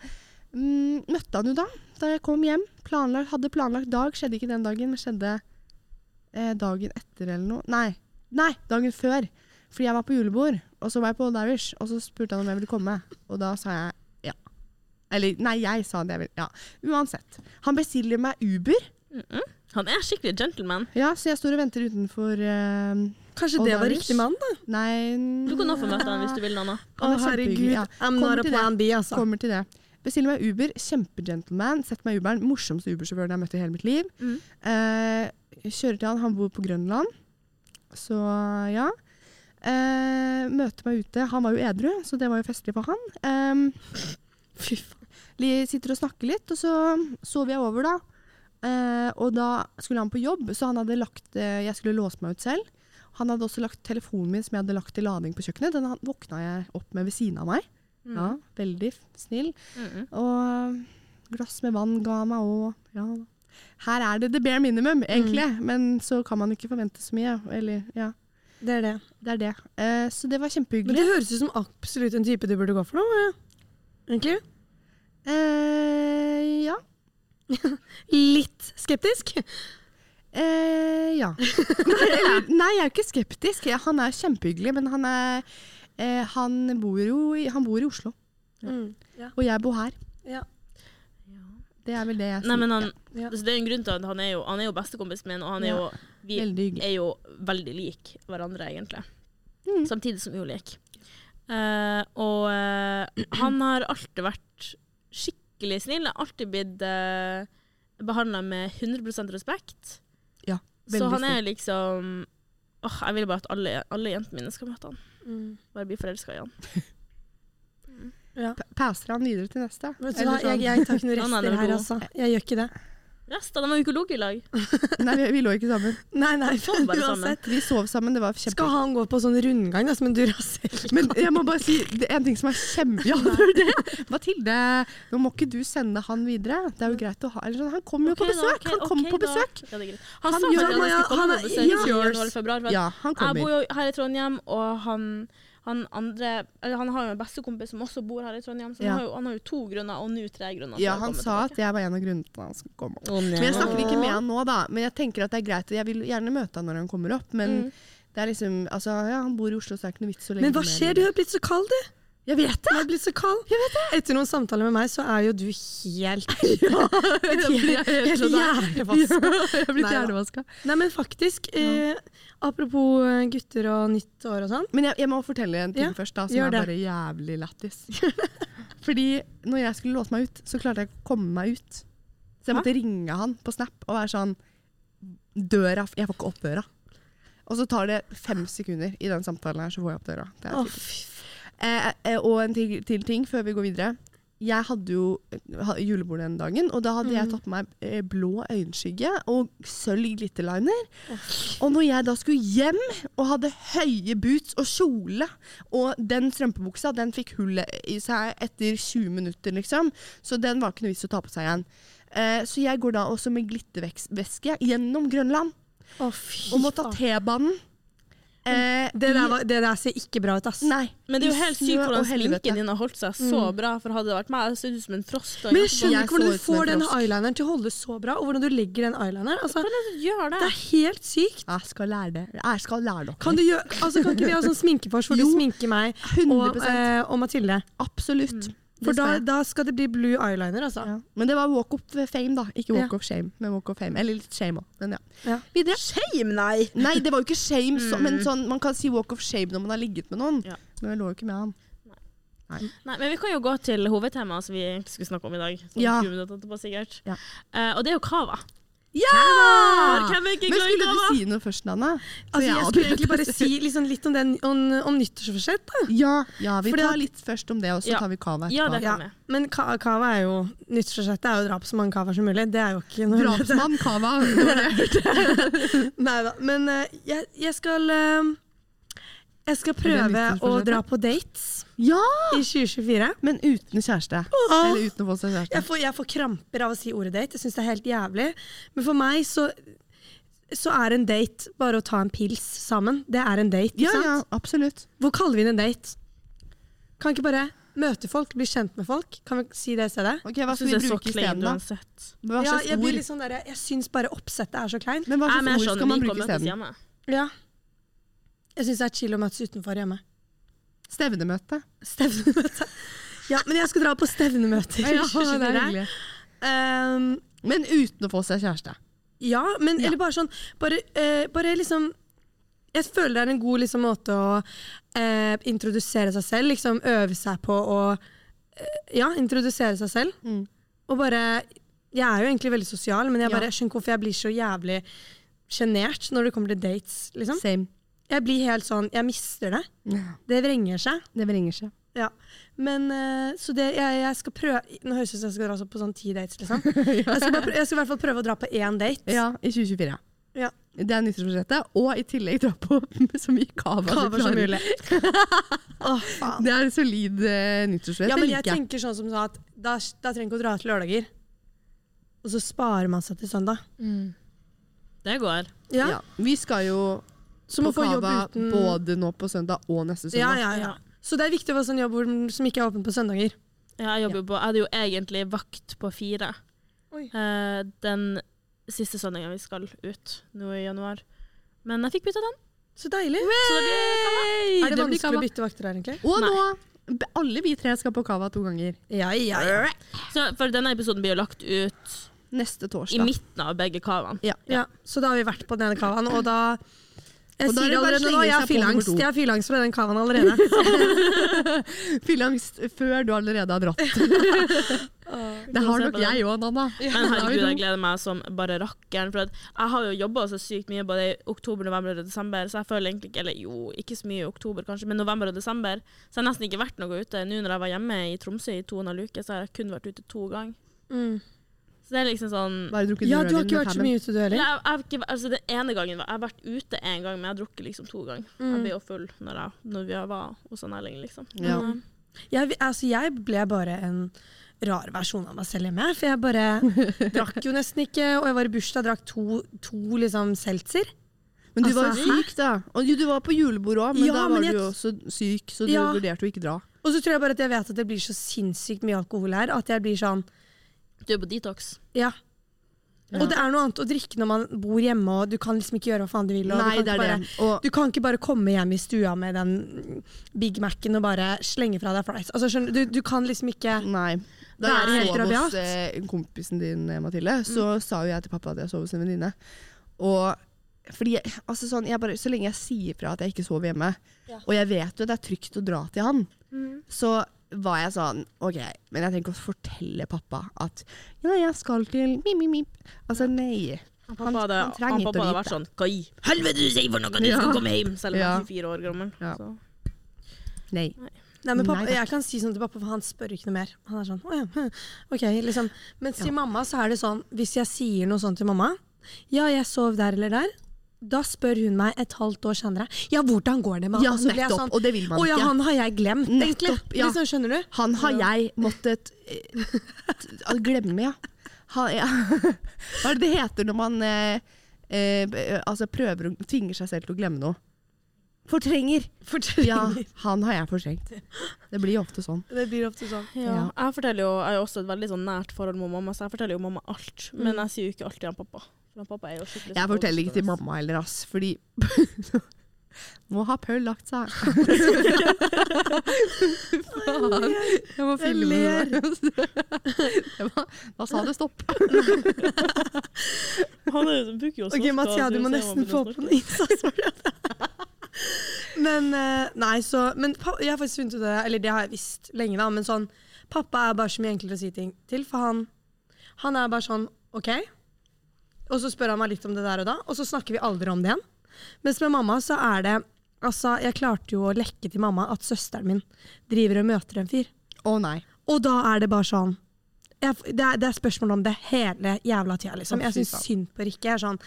Speaker 2: Mm, møtte han jo da, da jeg kom hjem. Planlagt, hadde planlagt dag, skjedde ikke den dagen, men skjedde eh, dagen etter eller noe. Nei, nei, dagen før. Fordi jeg var på julebord, og så var jeg på Old Irish, og så spurte han om jeg ville komme. Og da sa jeg ja. Eller nei, jeg sa det jeg ville. Ja. Uansett. Han bestiller meg Uber,
Speaker 1: Han er skikkelig gentleman.
Speaker 2: ja, så jeg står og venter utenfor eh,
Speaker 3: Kanskje
Speaker 2: Og
Speaker 3: det var
Speaker 2: Darius?
Speaker 3: riktig mann, da?
Speaker 2: Nei
Speaker 1: Du kan også få møte han hvis du vil, Nanna.
Speaker 2: Han er kjempehyggelig, ja.
Speaker 3: I'm
Speaker 2: Kommer
Speaker 3: not a
Speaker 2: til det.
Speaker 3: plan B, altså.
Speaker 2: Kommer til det. Bestiller meg Uber. Kjempegentleman. Setter meg i Uberen. Morsomste Uber-sjåføren jeg har møtt i hele mitt liv.
Speaker 1: Mm.
Speaker 2: Eh, kjører til han. Han bor på Grønland. Så ja. Eh, møter meg ute. Han var jo edru, så det var jo festlig for han. Em,
Speaker 3: Fy faen.
Speaker 2: vi sitter og snakker litt, og så sover jeg over, da. Eh, og da skulle han på jobb, så han hadde lagt, eh, jeg skulle låse meg ut selv. Han hadde også lagt telefonen min som jeg hadde lagt til lading på kjøkkenet. Den han- våkna jeg opp med ved siden av meg. Ja, veldig f- snill.
Speaker 1: Mm.
Speaker 2: Og glass med vann ga meg òg. Ja. da. Her er det the bare minimum, egentlig. Men så kan man ikke forvente så mye. Eller, ja,
Speaker 3: Det er det.
Speaker 2: det er det. Eh, så det var
Speaker 3: Men
Speaker 2: kjempehyggelig.
Speaker 3: det høres ut som absolutt en type du burde gå for noe. ja. Egentlig.
Speaker 2: Eh, ja.
Speaker 3: Litt skeptisk.
Speaker 2: Eh, ja. Eller, nei, jeg er ikke skeptisk. Jeg- Han er kjempehyggelig, men han, er, eh, han, bor jo i, han bor i Oslo.
Speaker 3: Mm.
Speaker 2: Og jeg bor her.
Speaker 3: Ja.
Speaker 2: Det er vel det jeg sier.
Speaker 1: Nei, men han,
Speaker 3: Ja.
Speaker 1: så det er en grunn til at han er jo, han er jo bestekompisen min, og han er
Speaker 2: Ja.
Speaker 1: jo, vi
Speaker 2: Veldig hyggelig.
Speaker 1: er jo veldig lik hverandre, egentlig.
Speaker 2: Mm.
Speaker 1: Samtidig som ulik. Eh, og eh, han har alltid vært skikkelig snill. Har alltid blitt uh, behandla med 100 respekt. Så
Speaker 2: Veldig
Speaker 1: han
Speaker 2: snill.
Speaker 1: er liksom Åh, Jeg vil bare at alle, alle jentene mine skal møte han.
Speaker 3: Mm.
Speaker 1: Bare bli forelska i han.
Speaker 2: Pa- Passer han videre til neste?
Speaker 3: Vet du
Speaker 2: Eller
Speaker 3: hva, jeg,
Speaker 2: sånn.
Speaker 3: jeg tar ikke noen
Speaker 1: Han er
Speaker 2: (laughs)
Speaker 3: rester
Speaker 1: nummer
Speaker 3: her,
Speaker 1: to.
Speaker 3: altså. Jeg gjør ikke det.
Speaker 1: Resten av dem uka lå i lag.
Speaker 2: Nei, vi, vi lå ikke sammen.
Speaker 3: Nei, nei,
Speaker 1: Sånn var det sammen.
Speaker 3: uansett.
Speaker 2: Vi sov sammen, det var
Speaker 3: Skal
Speaker 2: kjempe...
Speaker 3: han gå på sånn rundgang da, som en duracell?
Speaker 2: Men jeg må bare si det er en ting som er kjempe... Ja, det er det. (laughs) Mathilde, nå må ikke du sende han videre. Det er jo greit å ha eller sånn, Han kom jo
Speaker 1: Ok,
Speaker 2: på
Speaker 1: da,
Speaker 2: besøk!
Speaker 1: ok,
Speaker 2: han kom
Speaker 1: ok,
Speaker 2: på
Speaker 1: da.
Speaker 2: besøk!
Speaker 1: Ja, det er greit. Han,
Speaker 2: Han
Speaker 1: sa
Speaker 2: gjør-
Speaker 1: faktisk at han
Speaker 3: ja,
Speaker 1: skulle komme
Speaker 3: han er-
Speaker 1: på besøk
Speaker 3: ja.
Speaker 1: i januar februar. for at
Speaker 2: Ja, han
Speaker 1: Jeg bor
Speaker 2: kommer.
Speaker 1: jo her i Trondheim, og han, han andre eller Han har jo en bestekompis som også bor her i Trondheim, så
Speaker 2: Ja.
Speaker 1: han, har jo, han har jo to grunner, og nå tre grunner.
Speaker 2: Ja, han sa at jeg var en av grunnene til at han skulle komme.
Speaker 1: Men
Speaker 2: Men jeg snakker ikke med han nå, da. Men jeg tenker at det er greit. Jeg vil gjerne møte han når han kommer opp, men
Speaker 1: Mm.
Speaker 2: det er liksom altså, ja, Han bor i Oslo, så det er ikke noe vits å legge
Speaker 3: Men hva
Speaker 2: noe mer i
Speaker 3: skjer? Du
Speaker 2: det.
Speaker 3: har blitt så kald, du.
Speaker 2: Jeg vet det!
Speaker 3: Du har blitt så kald. Etter noen samtaler med meg, så er jo du
Speaker 2: (laughs)
Speaker 3: (laughs) helt
Speaker 2: sånn
Speaker 3: Helt hjernevaska.
Speaker 2: Jeg har blitt
Speaker 3: Nei da.
Speaker 2: hjernevaska.
Speaker 3: Nei, men faktisk. Eh, apropos eh, gutter og nytt år og sånn.
Speaker 2: Men jeg, jeg må fortelle en ting
Speaker 3: Ja,
Speaker 2: først, da, som
Speaker 3: gjør
Speaker 2: er
Speaker 3: det.
Speaker 2: bare jævlig lættis. (laughs) Fordi når jeg skulle låse meg ut, så klarte jeg ikke å komme meg ut. Så jeg måtte ringe han på Snap og være sånn Døra Jeg får ikke opp døra. Og så tar det fem sekunder i den samtalen her, så får jeg opp døra. Det er
Speaker 3: Å,
Speaker 2: typisk. Eh, eh, og en til, til ting før vi går videre. Jeg hadde jo eh, ha- julebord den dagen, og da hadde
Speaker 1: Mm.
Speaker 2: jeg tatt på meg eh, blå øyenskygge og sølv glitterliner. Og når jeg da skulle hjem og hadde høye boots og kjole, og den strømpebuksa den fikk hullet i seg etter 20 minutter, liksom, så den var ikke noe vits å ta på seg igjen. Eh, så jeg går da også med glittervæske gjennom Grønland
Speaker 3: å, fy
Speaker 2: og må ta
Speaker 3: faen.
Speaker 2: T-banen. Eh,
Speaker 3: det, der var, det der ser ikke bra ut, ass.
Speaker 2: Nei.
Speaker 1: det Mm. er jo
Speaker 2: i
Speaker 1: helt
Speaker 2: snø
Speaker 1: sykt hvordan
Speaker 2: og helvete. Mm.
Speaker 1: sminken din har holdt seg så bra, for hadde det vært meg, hadde jeg sett ut som en frosk. da.
Speaker 3: Men jeg
Speaker 1: Jeg
Speaker 3: skjønner
Speaker 2: Jeg
Speaker 3: ikke hvordan
Speaker 2: så
Speaker 3: du
Speaker 2: ut som en
Speaker 3: får den
Speaker 2: frosk.
Speaker 3: eyelineren til å holde så bra, og hvordan du legger den eyelineren. Altså,
Speaker 1: kan gjøre
Speaker 3: det
Speaker 1: det.
Speaker 3: er helt sykt.
Speaker 2: Jeg skal lære det. Jeg skal lære dere.
Speaker 3: Kan, du gjøre, altså, kan ikke vi ha sånn sminkefors hvor du
Speaker 2: Jo,
Speaker 3: sminker meg og,
Speaker 2: 100
Speaker 3: eh, og Mathilde?
Speaker 2: Absolutt. Det
Speaker 3: For
Speaker 2: skal
Speaker 3: da,
Speaker 2: jeg.
Speaker 3: da skal det bli blue eyeliner, altså.
Speaker 2: ja. Men det var walk of fame, da. Ikke walk
Speaker 3: Ja.
Speaker 2: of shame, men walk of fame. Eller litt shame òg, men ja.
Speaker 3: Ja.
Speaker 2: Videre.
Speaker 1: Shame, nei!
Speaker 2: Nei, det var jo ikke shame, så, men sånn, man kan si walk of shame når man har ligget med noen.
Speaker 1: Ja.
Speaker 2: Men jeg lå jo ikke med han.
Speaker 1: Nei, men vi kan jo gå til hovedtemaet som vi egentlig skulle snakke om i dag. Sånn
Speaker 2: Ja.
Speaker 1: 20 minutter etterpå, sikkert.
Speaker 2: Ja.
Speaker 1: Eh, og det er jo kava.
Speaker 2: Ja!
Speaker 1: For hvem er ikke
Speaker 2: Men
Speaker 1: glad i
Speaker 2: skulle
Speaker 1: kava?
Speaker 2: du si noe først, Nanna?
Speaker 3: Altså, jeg skulle egentlig bare si liksom, litt om, den, om, om nyttårsforsett. da.
Speaker 2: ja, ja, vi
Speaker 3: Fordi
Speaker 2: tar
Speaker 3: at-
Speaker 2: litt først om det, og så
Speaker 1: Ja.
Speaker 2: tar vi kava
Speaker 1: Ja, det
Speaker 2: etterpå.
Speaker 1: kan vi.
Speaker 3: Men ka kava er jo Nyttårsforsettet er jo å dra på så mange kavaer som mulig. Det er jo ikke noe
Speaker 2: Drapsmann, kava.
Speaker 3: Neida, Men eh, jeg, jeg skal eh, Jeg
Speaker 2: Er
Speaker 3: skal
Speaker 2: det
Speaker 3: prøve å
Speaker 2: nyttårsforsettet?
Speaker 3: dra på dates
Speaker 2: Ja!
Speaker 3: i 2024.
Speaker 2: Men uten kjæreste. Eller uten å få seg kjæreste.
Speaker 3: Jeg får, jeg får kramper av å si ordet date. Jeg syns det er helt jævlig. Men for meg så, så er en date bare å ta en pils sammen. Det er en date. ikke
Speaker 2: Ja,
Speaker 3: sant?
Speaker 2: ja, absolutt.
Speaker 3: Hvor kaller vi det en date? Kan ikke bare møte folk, bli kjent med folk? Kan vi si det i stedet?
Speaker 2: Ok, Hva
Speaker 1: Jeg
Speaker 2: skal
Speaker 1: syns det
Speaker 2: vi
Speaker 1: er så
Speaker 2: bruke
Speaker 1: kleint
Speaker 2: isteden, da?
Speaker 1: uansett.
Speaker 2: Hva
Speaker 3: Ja,
Speaker 2: slags
Speaker 3: jeg blir
Speaker 2: ord?
Speaker 3: litt sånn der, jeg syns bare oppsettet er så kleint.
Speaker 2: Men hva
Speaker 1: Nei, men
Speaker 2: slags
Speaker 1: jeg
Speaker 2: ord
Speaker 1: skjønner,
Speaker 2: skal man
Speaker 1: vi
Speaker 2: bruke
Speaker 1: kan møtes
Speaker 2: isteden?
Speaker 1: hjemme.
Speaker 3: Ja. Jeg syns det er chill å møtes utenfor hjemme.
Speaker 2: Stevnemøte. (laughs)
Speaker 3: Stevnemøte. Ja, men jeg skal dra på stevnemøte. i 2024. Ehm,
Speaker 2: Men uten å få seg kjæreste.
Speaker 3: ja, men
Speaker 2: Ja.
Speaker 3: eller bare sånn bare, eh, bare liksom Jeg føler det er en god liksom, måte å eh, introdusere seg selv, liksom øve seg på å eh, Ja, introdusere seg selv.
Speaker 2: Mm.
Speaker 3: Og bare Jeg er jo egentlig veldig sosial, men jeg
Speaker 2: Ja.
Speaker 3: bare jeg skjønner ikke hvorfor jeg blir så jævlig sjenert når det kommer til dates. Liksom.
Speaker 2: Same.
Speaker 3: Jeg blir helt sånn Jeg mister det. Det vrenger seg.
Speaker 2: Det vrenger seg.
Speaker 3: Ja. Men eh, så det jeg, jeg skal prøve Nå høres det ut som jeg skal dra så på sånn ti dates, liksom. Jeg skal, bare prøve, jeg skal i hvert fall prøve å dra på én date.
Speaker 2: Ja, i 2024.
Speaker 3: Ja.
Speaker 2: Det er nyttårsforsettet. Og i tillegg dra på (laughs) så mye kava,
Speaker 3: Kava som mulig. Åh, faen.
Speaker 2: Det er en solid uh, nyttårsforsett.
Speaker 3: Ja,
Speaker 2: det
Speaker 3: men jeg
Speaker 2: liker jeg.
Speaker 3: tenker sånn som sa at da, da trenger ikke å dra til lørdager. Og så sparer man seg til søndag.
Speaker 1: Det går.
Speaker 3: Ja,
Speaker 2: Ja. Vi skal jo
Speaker 3: Så må
Speaker 2: på
Speaker 3: få jobb
Speaker 2: kava
Speaker 3: uten
Speaker 2: både nå på søndag og neste
Speaker 3: ja,
Speaker 2: søndag.
Speaker 3: ja, ja. Så det er viktig å få sånn jobb hvor- som ikke er åpen på søndager.
Speaker 1: Ja, jeg, jobber jo på, jeg hadde jo egentlig vakt på fire
Speaker 3: Oi.
Speaker 1: eh, den siste søndagen vi skal ut nå i januar. Men jeg fikk bytta den.
Speaker 3: Så deilig.
Speaker 1: Så det blir kava.
Speaker 3: Er det
Speaker 1: det blir
Speaker 3: vanskelig
Speaker 1: kava.
Speaker 3: å bytte vakter her, egentlig?
Speaker 2: Og
Speaker 1: Nei.
Speaker 2: nå b- Alle vi tre skal på kava to ganger.
Speaker 3: Ja, ja, ja.
Speaker 1: Så, for denne episoden blir jo lagt ut
Speaker 2: Neste
Speaker 1: i
Speaker 2: torsdag. (laughs)
Speaker 1: midten av begge kavaene.
Speaker 3: Ja, så da har vi vært på den ene kavaen, og da jeg
Speaker 2: Og da er
Speaker 3: sier
Speaker 2: det bare å
Speaker 3: allerede nå,
Speaker 2: slenge
Speaker 3: jeg
Speaker 2: seg
Speaker 3: har
Speaker 2: på nummer
Speaker 3: fylleangst.
Speaker 2: to.
Speaker 3: Jeg har fylleangst fra den kavaen allerede. (laughs)
Speaker 2: Fylleangst før du allerede har
Speaker 3: (laughs)
Speaker 2: dratt. (laughs) Det har nok jeg òg, Nanna.
Speaker 1: Men herregud, jeg gleder meg som bare rakkeren. For at jeg har jo jobba så sykt mye både i oktober, november og desember, så jeg føler egentlig ikke Eller jo, ikke så mye i oktober, kanskje, men november og desember. Så jeg har nesten ikke vært noe ute. Nå når jeg var hjemme i Tromsø i to og en halv uke, så har jeg kun vært ute to ganger. Så det er liksom sånn
Speaker 2: Bare drukket
Speaker 3: Mm. Ja,
Speaker 2: rødvin
Speaker 3: du har ikke
Speaker 2: med
Speaker 3: vært så
Speaker 2: Pammen.
Speaker 3: mye ute, du
Speaker 1: Eller,
Speaker 3: heller.
Speaker 1: jeg, jeg, har ikke, altså den ene gangen var- Jeg har vært ute én gang, men jeg har drukket liksom to ganger. Jeg ble jo full når, jeg, når vi var hos han Erling, liksom.
Speaker 2: Ja.
Speaker 1: Men,
Speaker 3: Jeg, altså, jeg ble bare en rar versjon av meg selv hjemme. For jeg
Speaker 2: (laughs)
Speaker 3: bare drakk jo nesten ikke, og jeg var i bursdag drakk to, to liksom seltzer.
Speaker 2: Men du var
Speaker 3: Altså,
Speaker 2: jo syk, da. Og jo, du var på julebord òg, men
Speaker 3: Ja,
Speaker 2: da var
Speaker 3: men
Speaker 2: du
Speaker 3: jeg-
Speaker 2: jo også syk, så du
Speaker 3: Ja.
Speaker 2: vurderte å ikke dra.
Speaker 3: Og så tror jeg bare at jeg vet at det blir så sinnssykt mye alkohol her at jeg blir sånn
Speaker 1: Du er på detox.
Speaker 3: Ja.
Speaker 2: Ja.
Speaker 3: Og det er noe annet å drikke når man bor hjemme, og du kan liksom ikke gjøre hva faen du vil. Og
Speaker 2: Nei,
Speaker 3: du, kan
Speaker 2: det
Speaker 3: ikke
Speaker 2: er
Speaker 3: bare,
Speaker 2: det. Og,
Speaker 3: du kan ikke bare komme hjem i stua med den Big Mac-en og bare slenge fra deg fries. Altså, skjønner du, du kan liksom ikke
Speaker 2: nei. Da
Speaker 3: Det er
Speaker 2: jeg
Speaker 3: helt
Speaker 2: sov
Speaker 3: rabiat. Mm.
Speaker 2: hos eh, kompisen din, eh, Mathilde, så sa jo jeg til pappa at jeg sov hos en venninne. Og fordi jeg, altså sånn, jeg bare, Så lenge jeg sier fra at jeg ikke sover hjemme,
Speaker 3: Ja. Mm.
Speaker 2: og jeg vet jo at det er trygt å dra til han, så var jeg sånn OK, men jeg tenker å fortelle pappa at ja, jeg skal til mip, mip, mip. Altså, nei.
Speaker 1: Han
Speaker 2: Han-
Speaker 1: pappa hadde,
Speaker 2: han
Speaker 1: han
Speaker 2: trenger ikke å
Speaker 1: pappa hadde
Speaker 2: vite.
Speaker 1: vært sånn Hva i helvete du sier for noe, du
Speaker 2: Ja.
Speaker 1: skal komme hjem! Selv om
Speaker 2: Ja.
Speaker 1: han er 24 år gammel.
Speaker 2: Ja.
Speaker 1: Så.
Speaker 2: Nei.
Speaker 3: Nei, men pappa,
Speaker 2: Nei, takk.
Speaker 3: Jeg kan si sånn til pappa, for han spør ikke noe mer. Han er sånn, «Å ja, hm, ok, liksom. Mens til mamma så er det sånn, hvis jeg sier noe sånn til mamma, ja, jeg sov der eller der, da spør hun meg et halvt år senere, ja, hvordan går det med
Speaker 2: Ja,
Speaker 3: han? Og så blir jeg
Speaker 2: nettopp.
Speaker 3: sånn,
Speaker 2: og det vil man
Speaker 3: Å ja,
Speaker 2: ikke.
Speaker 3: han har jeg glemt, egentlig.
Speaker 2: Nettopp, ja.
Speaker 3: Liksom, skjønner du?
Speaker 2: Han har jeg måttet eh, t- t- glemme, ja. Ha, ja. (laughs) Hva er det det heter når man eh, eh, b- eh, altså prøver å tvinger seg selv til å glemme noe? Fortrenger. Ja, han har jeg fortrengt. Det blir jo ofte sånn.
Speaker 3: Det blir ofte sånn.
Speaker 1: Ja.
Speaker 2: Ja.
Speaker 1: Jeg forteller jo, jeg har også et veldig sånn nært forhold med mamma, så jeg forteller jo mamma alt. Men jeg sier jo ikke alt til han pappa. For han pappa er jo skikkelig
Speaker 2: Jeg
Speaker 1: sånn
Speaker 2: forteller ikke til
Speaker 1: overstående.
Speaker 2: mamma heller, ass, fordi (laughs) Nå har Paul lagt seg. Faen. Jeg må filme
Speaker 3: ler.
Speaker 2: det. (laughs) Det var- Da sa det stopp.
Speaker 1: Han er, jo- bruker jo
Speaker 3: Ok,
Speaker 1: snorke,
Speaker 3: Mathia,
Speaker 1: så
Speaker 3: du
Speaker 1: vi ser om
Speaker 3: må
Speaker 1: han
Speaker 3: nesten få
Speaker 1: begynner å
Speaker 3: på
Speaker 1: snorke.
Speaker 3: noe innsats for det. (laughs) Men eh, nei, så Men pa- jeg har faktisk funnet ut av det, eller det har jeg visst lenge, da, men sånn Pappa er bare så mye enklere å si ting til, for han Han er bare sånn OK. Og så spør han meg litt om det der og da, og så snakker vi aldri om det igjen. Mens med mamma så er det Altså, jeg klarte jo å lekke til mamma at søsteren min driver og møter en fyr.
Speaker 2: Å nei.
Speaker 3: Og da er det bare sånn jeg, det, er, det er spørsmål om det hele jævla tida, liksom.
Speaker 2: Å,
Speaker 3: Jeg
Speaker 2: fy
Speaker 3: syns
Speaker 2: faen.
Speaker 3: synd på Rikke. Jeg er sånn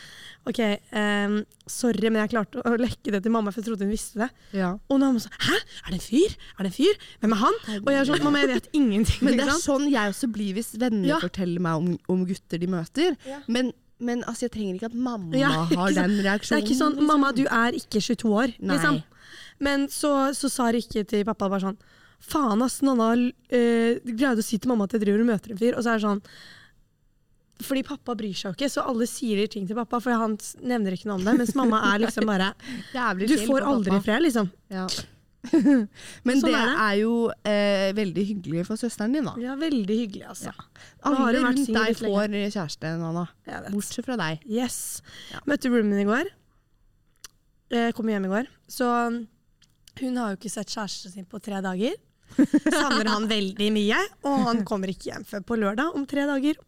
Speaker 3: OK, ehm, sorry, men jeg klarte å å lekke det til mamma, for jeg trodde hun visste det.
Speaker 2: Ja.
Speaker 3: Og nå er mamma sånn Hæ? Er det en fyr? Er det en fyr? Hvem er han? Og jeg er sånn Mamma, jeg vet ingenting.
Speaker 2: Men det
Speaker 3: ikke
Speaker 2: er
Speaker 3: sant?
Speaker 2: sånn jeg også blir hvis venner
Speaker 3: Ja.
Speaker 2: forteller meg om, om gutter de møter. Men, men altså, jeg trenger ikke at mamma
Speaker 3: Ja, (laughs) ikke
Speaker 2: har den
Speaker 3: Det er
Speaker 2: reaksjonen. Liksom,
Speaker 3: ikke sånn Mamma, du er ikke 22 år,
Speaker 2: Nei.
Speaker 3: liksom. Men så, så sa Rikke til pappa bare sånn Faen, ass, Nanna eh, greide å si til mamma at jeg driver og møter en fyr, og så er det sånn fordi pappa bryr seg jo ikke, så alle sier ting til pappa. For han s- nevner ikke noe om det. Mens mamma er
Speaker 2: (laughs)
Speaker 3: liksom bare
Speaker 2: Jævlig
Speaker 3: Du
Speaker 2: chill
Speaker 3: får
Speaker 2: på
Speaker 3: aldri
Speaker 2: pappa.
Speaker 3: fred, liksom.
Speaker 2: Ja. (laughs) Men
Speaker 3: Sånn
Speaker 2: det er,
Speaker 3: er det.
Speaker 2: jo eh, veldig hyggelig for søsteren din, da.
Speaker 3: Ja, veldig hyggelig, altså. Nå har
Speaker 2: Alle
Speaker 3: hun vært
Speaker 2: rundt
Speaker 3: singel
Speaker 2: deg
Speaker 3: litt
Speaker 2: får kjæreste, Nanna.
Speaker 3: Jeg vet.
Speaker 2: Bortsett fra deg.
Speaker 3: Yes.
Speaker 2: Ja.
Speaker 3: Møtte roomien min i går. Jeg kom hjem i går. Så um, hun har jo ikke sett kjæresten sin på tre dager. Savner han veldig mye, og han kommer ikke hjem før på lørdag om tre dager.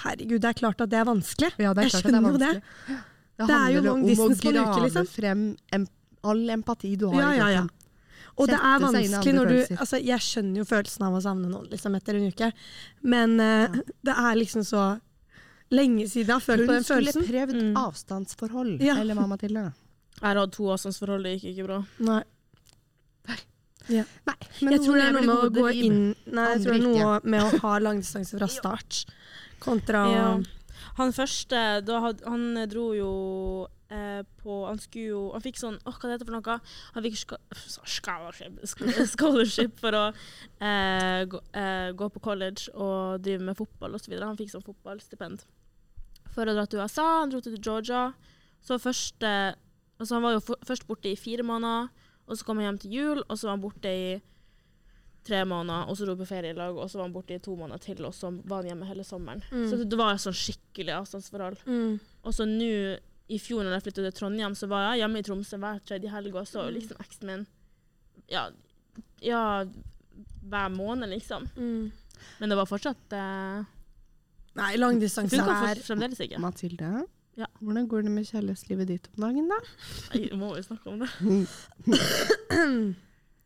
Speaker 3: Herregud, det er klart at det er vanskelig. jeg skjønner jo det.
Speaker 2: Det,
Speaker 3: Det er jo
Speaker 2: handler
Speaker 3: long
Speaker 2: om å
Speaker 3: distance på en uke,
Speaker 2: grave
Speaker 3: liksom.
Speaker 2: frem em all empati du har.
Speaker 3: Ja,
Speaker 2: i
Speaker 3: ja, ja.
Speaker 2: kroppen.
Speaker 3: Og det er
Speaker 2: Sette seg inn i
Speaker 3: vanskelig
Speaker 2: andre
Speaker 3: når du
Speaker 2: følelser.
Speaker 3: altså, Jeg skjønner jo følelsen av å savne noen liksom, etter en uke, men eh, det er liksom så lenge siden jeg har følt
Speaker 2: Hun
Speaker 3: på den
Speaker 2: skulle
Speaker 3: følelsen.
Speaker 2: prøvd
Speaker 1: Mm.
Speaker 2: avstandsforhold,
Speaker 3: Ja.
Speaker 2: eller hva, Mathilde?
Speaker 1: Jeg har hatt to avstandsforhold, det gikk ikke bra.
Speaker 3: Nei.
Speaker 2: Nei, men
Speaker 3: jeg tror
Speaker 2: hun
Speaker 3: det er
Speaker 2: lever
Speaker 3: noe med å
Speaker 2: gode
Speaker 3: gå
Speaker 2: liv.
Speaker 3: inn Nei, jeg
Speaker 2: Andre
Speaker 3: tror det er noe
Speaker 2: ikke.
Speaker 3: med å ha langdistanse fra start. Kontra ja.
Speaker 1: Ja. Han første, da had, han dro jo eh, på Han skulle jo Han fikk sånn Åh, hva det heter for noe? Han fikk ska- scholarship, sk- (laughs) scholarship for å eh, gå, eh, gå på college og drive med fotball osv. Han fikk sånn fotballstipend for å dra til USA. Han dro til Georgia. Så første altså Han var jo for, først borte i fire måneder, og så kom han hjem til jul, og så var han borte i tre måneder, og så dro vi på ferie i lag, og så var han borte i to måneder til, og så var han hjemme hele sommeren.
Speaker 2: Mm.
Speaker 1: Så det var et sånn skikkelig avstandsforhold. Og så nå, i fjor når jeg flyttet til Trondheim, så var jeg hjemme i Tromsø hver tredje helg, og
Speaker 2: Mm.
Speaker 1: så liksom eksen min ja, ja, hver måned, liksom. Men det var fortsatt eh,
Speaker 3: Nei, langdistanse
Speaker 1: Funka
Speaker 3: er
Speaker 1: for- fremdeles ikke.
Speaker 2: Mathilde,
Speaker 1: Ja.
Speaker 2: hvordan går det med kjærlighetslivet ditt om dagen, da?
Speaker 1: Jeg må jo snakke om det.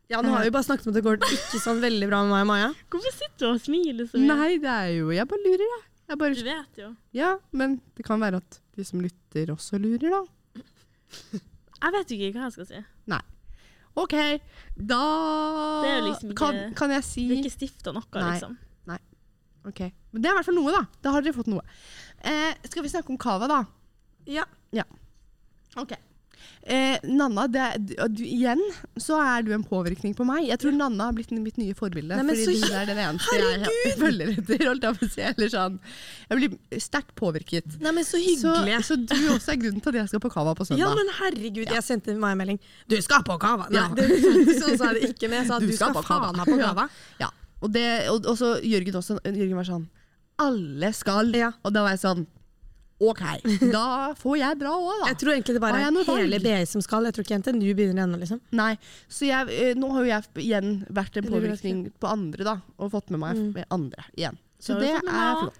Speaker 3: Ja, nå har vi bare snakket om at det går ikke sånn veldig bra med meg og Maja.
Speaker 1: Hvorfor sitter du og smiler så mye?
Speaker 2: det er jo Jeg bare lurer, jeg. Jeg bare
Speaker 1: Du vet jo.
Speaker 2: Ja, men det kan være at de som lytter også lurer, da.
Speaker 1: Jeg vet jo ikke hva jeg skal si.
Speaker 2: OK, da
Speaker 1: Det er jo liksom ikke-
Speaker 2: kan, kan jeg si
Speaker 1: Det er ikke stifta noe,
Speaker 2: Nei.
Speaker 1: liksom.
Speaker 2: Ok, Men det er i hvert fall noe, da. Da har dere fått noe. Eh, skal vi snakke om cava, da?
Speaker 3: Ja.
Speaker 2: Ok. Eh, Nanna, det er, du, du, igjen så er du en påvirkning på meg. Jeg tror Nanna har blitt mitt nye forbilde.
Speaker 3: Nei, men
Speaker 2: fordi
Speaker 3: så-
Speaker 2: du er den eneste jeg (laughs) følger etter. Holdt jeg, på å si, eller sånn. jeg blir sterkt påvirket.
Speaker 3: Nei, men så
Speaker 2: Så,
Speaker 3: hyggelig.
Speaker 2: så du også er grunnen til at jeg skal på cava på
Speaker 3: ja,
Speaker 2: søndag.
Speaker 3: men herregud, jeg sendte meg en melding. Du skal på kava! Nei,
Speaker 2: Ja.
Speaker 3: det, sånn sa jeg det ikke, men jeg sa at
Speaker 2: Du
Speaker 3: du,
Speaker 2: skal
Speaker 3: skal,
Speaker 2: på kava.
Speaker 3: faen meg på kava.
Speaker 2: Ja. Og, det, og, og så Jørgen også. Jørgen var sånn Alle skal.
Speaker 3: Ja.
Speaker 2: Og da var jeg sånn OK, da får jeg dra òg, da.
Speaker 3: Jeg tror egentlig det bare
Speaker 2: Har jeg noe
Speaker 3: er hele
Speaker 2: valg?
Speaker 3: BI som skal. Jeg tror ikke NTNU begynner ennå, liksom.
Speaker 2: Nei, så jeg, eh, nå har jo jeg f- igjen vært en
Speaker 3: Eller vet
Speaker 2: påvirkning på andre, da. Og fått med meg
Speaker 3: Mm.
Speaker 2: f- andre igjen. Så
Speaker 1: har du
Speaker 2: det
Speaker 1: fått
Speaker 2: er
Speaker 1: med meg også.
Speaker 2: flott.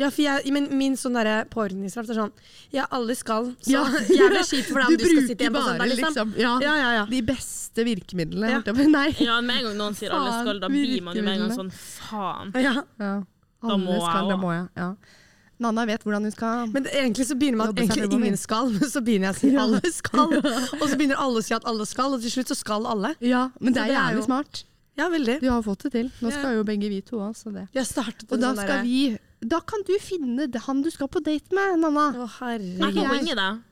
Speaker 3: Ja, for jeg, men min sånn derre påordningsstraff er sånn Ja, alle skal, så (laughs)
Speaker 2: Ja.
Speaker 3: jævlig kjipt for deg om du, skal
Speaker 2: bruker
Speaker 3: sitte hjemme på
Speaker 2: bare
Speaker 3: søndag, liksom.
Speaker 2: ja,
Speaker 3: Ja, ja, ja.
Speaker 2: De beste virkemidlene.
Speaker 3: Ja.
Speaker 2: holdt jeg på- Nei.
Speaker 1: Ja, med en gang noen sier alle
Speaker 2: Faen,
Speaker 1: skal, da blir man jo med en gang sånn
Speaker 2: virkemidlene.
Speaker 1: faen.
Speaker 3: ja.
Speaker 2: Ja.
Speaker 1: Da må
Speaker 2: Alle
Speaker 1: jeg
Speaker 2: skal, da
Speaker 1: også.
Speaker 2: må jeg. Ja. Nanna vet hvordan hun skal
Speaker 3: Men det, egentlig så begynner man at
Speaker 2: Jobbe seg
Speaker 3: egentlig
Speaker 2: fremover.
Speaker 3: ingen skal, men så begynner jeg å si alle skal. Og så begynner alle å si at alle skal, og til slutt så skal alle.
Speaker 2: Ja, men det
Speaker 3: Så
Speaker 2: er
Speaker 3: det er
Speaker 2: jævlig
Speaker 3: jo-
Speaker 2: smart.
Speaker 3: Ja, veldig.
Speaker 2: Du har fått det til. Nå skal jo begge vi to òg, så det.
Speaker 3: Jeg
Speaker 2: Og
Speaker 3: startet en
Speaker 2: da
Speaker 3: sånn
Speaker 2: skal
Speaker 3: derre-
Speaker 2: vi Da kan du finne det- han du skal på date med, Nanna.
Speaker 3: Å,
Speaker 1: Jeg kan
Speaker 3: herregud.
Speaker 2: Jeg-
Speaker 1: winge deg.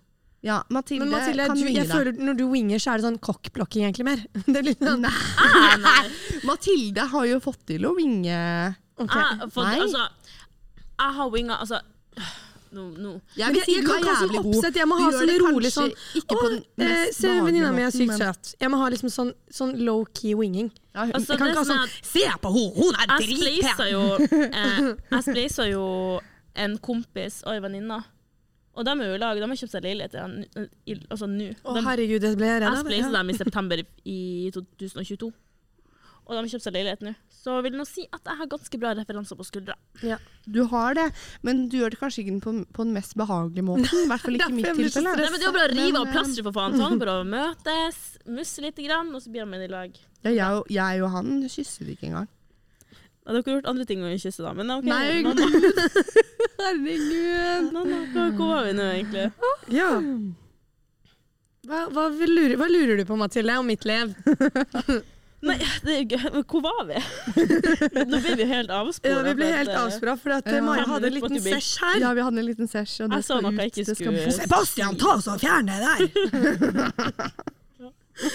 Speaker 2: Ja, Mathilde,
Speaker 3: Men Mathilde,
Speaker 2: kan
Speaker 3: du,
Speaker 2: vinge
Speaker 3: jeg
Speaker 2: deg.
Speaker 3: føler når du winger, så er det sånn cockblocking egentlig mer. (laughs) Det er litt sånn,
Speaker 1: Nei, nei.
Speaker 2: Mathilde har jo fått til å vinge
Speaker 3: ok.
Speaker 1: Jeg, har fått-
Speaker 2: Nei.
Speaker 1: altså, jeg har winga Altså, nå, nå.
Speaker 2: Jeg
Speaker 3: Men
Speaker 2: vil
Speaker 3: jeg,
Speaker 2: si
Speaker 3: jeg
Speaker 2: du
Speaker 3: kan
Speaker 2: er
Speaker 3: ikke ha
Speaker 2: jævlig
Speaker 3: sånn
Speaker 2: god.
Speaker 3: oppsett, jeg må
Speaker 2: Du
Speaker 3: ha
Speaker 2: gjør
Speaker 3: sånn
Speaker 2: det kanskje
Speaker 3: rolig sånn
Speaker 2: Ikke på den
Speaker 3: «Å, eh,
Speaker 2: mest
Speaker 3: Se, venninna mi er
Speaker 2: behagelige måten,
Speaker 3: sykt
Speaker 2: men-
Speaker 3: søt. Jeg må ha liksom sånn, sånn low-key winging.
Speaker 2: Ja, hun-
Speaker 1: Altså,
Speaker 3: Jeg kan
Speaker 1: det
Speaker 3: ikke ha
Speaker 1: som er
Speaker 3: sånn Se på henne, hun er
Speaker 1: Jeg splisa
Speaker 3: dritpen!
Speaker 1: jo, eh, jeg splisa jo en kompis og ei venninne. Og de er jo i lag. De har kjøpt seg leilighet igjen, i- altså nå.
Speaker 3: Å,
Speaker 1: De-
Speaker 3: herregud, det ble
Speaker 1: Jeg
Speaker 3: jeg redd av.
Speaker 1: splisa
Speaker 3: Ja.
Speaker 1: dem i september i 2022. Og de har kjøpt seg leilighet nå. Så vil nå si at jeg har ganske bra referanser på skuldra.
Speaker 2: Du har det, men du gjør det kanskje ikke på, på den mest behagelige
Speaker 3: (laughs)
Speaker 2: måten. I hvert fall ikke i mitt
Speaker 3: Derfor jeg blir så
Speaker 2: tilfelle.
Speaker 1: Nei, men Det er jo bare å
Speaker 2: Men,
Speaker 1: rive av
Speaker 2: eh,
Speaker 1: plasteret, for faen. Så han er bare å møtes, musse lite grann, og så blir de i lag.
Speaker 2: eh, Ja, jeg, og- jeg og han kysser ikke engang.
Speaker 1: Ja, dere har gjort andre ting enn å kysse, da. Men OK.
Speaker 2: Nei,
Speaker 1: nå- nå-
Speaker 2: Herregud.
Speaker 1: nå- nå- Hvor går vi nå, egentlig?
Speaker 3: Ja. Hva, hva, vil lurer, hva lurer du på, Mathilde, om mitt liv?
Speaker 1: Nei, det er gøy. Men Hvor var
Speaker 3: (laughs)
Speaker 1: vi? Nå ble vi jo helt avspora.
Speaker 3: Ja, vi ble
Speaker 1: for at,
Speaker 3: helt
Speaker 1: eh,
Speaker 3: avspora, for at
Speaker 2: Ja.
Speaker 3: eh, Maja
Speaker 1: Fem
Speaker 3: hadde en
Speaker 1: minutter på
Speaker 3: liten
Speaker 1: at du blir-
Speaker 3: sesj her.
Speaker 2: Ja, vi hadde en liten sesj, og det
Speaker 1: Jeg sa
Speaker 2: skal
Speaker 1: nok
Speaker 2: ut.
Speaker 1: jeg ikke
Speaker 2: det skal
Speaker 1: skulle-
Speaker 2: bort.
Speaker 3: Sebastian, ta oss og fjern det (laughs) der!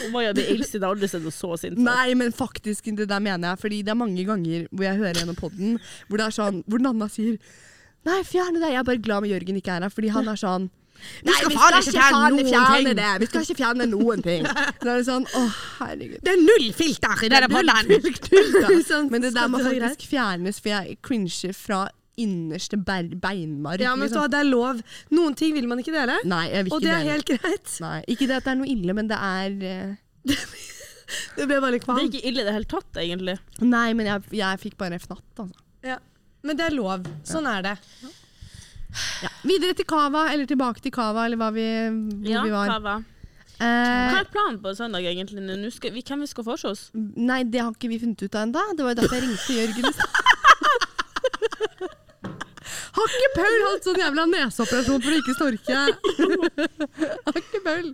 Speaker 1: Og Maja blir ildsint. Jeg har aldri sett henne så sint. før.
Speaker 2: Nei, men faktisk, det der mener jeg. Fordi det er mange ganger hvor jeg hører gjennom podden, hvor det er sånn, hvor Nanna sier Nei, fjerne det. Jeg er bare glad med Jørgen ikke er her, fordi han er sånn Nei,
Speaker 3: skal faen ikke fjerne noen ting.»
Speaker 2: det. Vi skal ikke fjerne noen
Speaker 3: (laughs)
Speaker 2: ting. Da er det sånn, å herregud.
Speaker 3: Det er null filter i denne podden! Sånn,
Speaker 2: Men det der må
Speaker 3: skal dere-
Speaker 2: faktisk fjernes, for jeg cringer fra innerste ber- beinmarg.
Speaker 3: Ja, men vet du hva,
Speaker 2: liksom.
Speaker 3: det er lov. Noen ting vil man ikke dele,
Speaker 2: Nei, jeg vil
Speaker 3: og
Speaker 2: ikke
Speaker 3: det er
Speaker 2: dele.
Speaker 3: helt greit.
Speaker 2: Nei, ikke det at det er noe ille, men det er eh,
Speaker 3: (laughs) Det ble bare litt
Speaker 1: Det er
Speaker 3: kvalm.
Speaker 1: ikke ille i det hele tatt, egentlig.
Speaker 2: Nei, men jeg, jeg fikk bare fnatt, altså.
Speaker 3: Ja. Men det er lov. Sånn er det.
Speaker 2: Videre til Cava, eller tilbake til Cava, eller hva vi, hvor
Speaker 1: Ja,
Speaker 2: vi var.
Speaker 1: Kava. Hva
Speaker 2: Eh,
Speaker 1: er planen på søndag, egentlig? nå? Nå skal, vi, hvem vi skal forse oss? (laughs)
Speaker 2: nei, det har ikke vi funnet ut av ennå. Det var jo derfor jeg ringte Jørgen. i stad. (laughs) Har ikke Paul hatt sånn jævla neseoperasjon for å ikke snorke? (laughs) Har ikke Paul.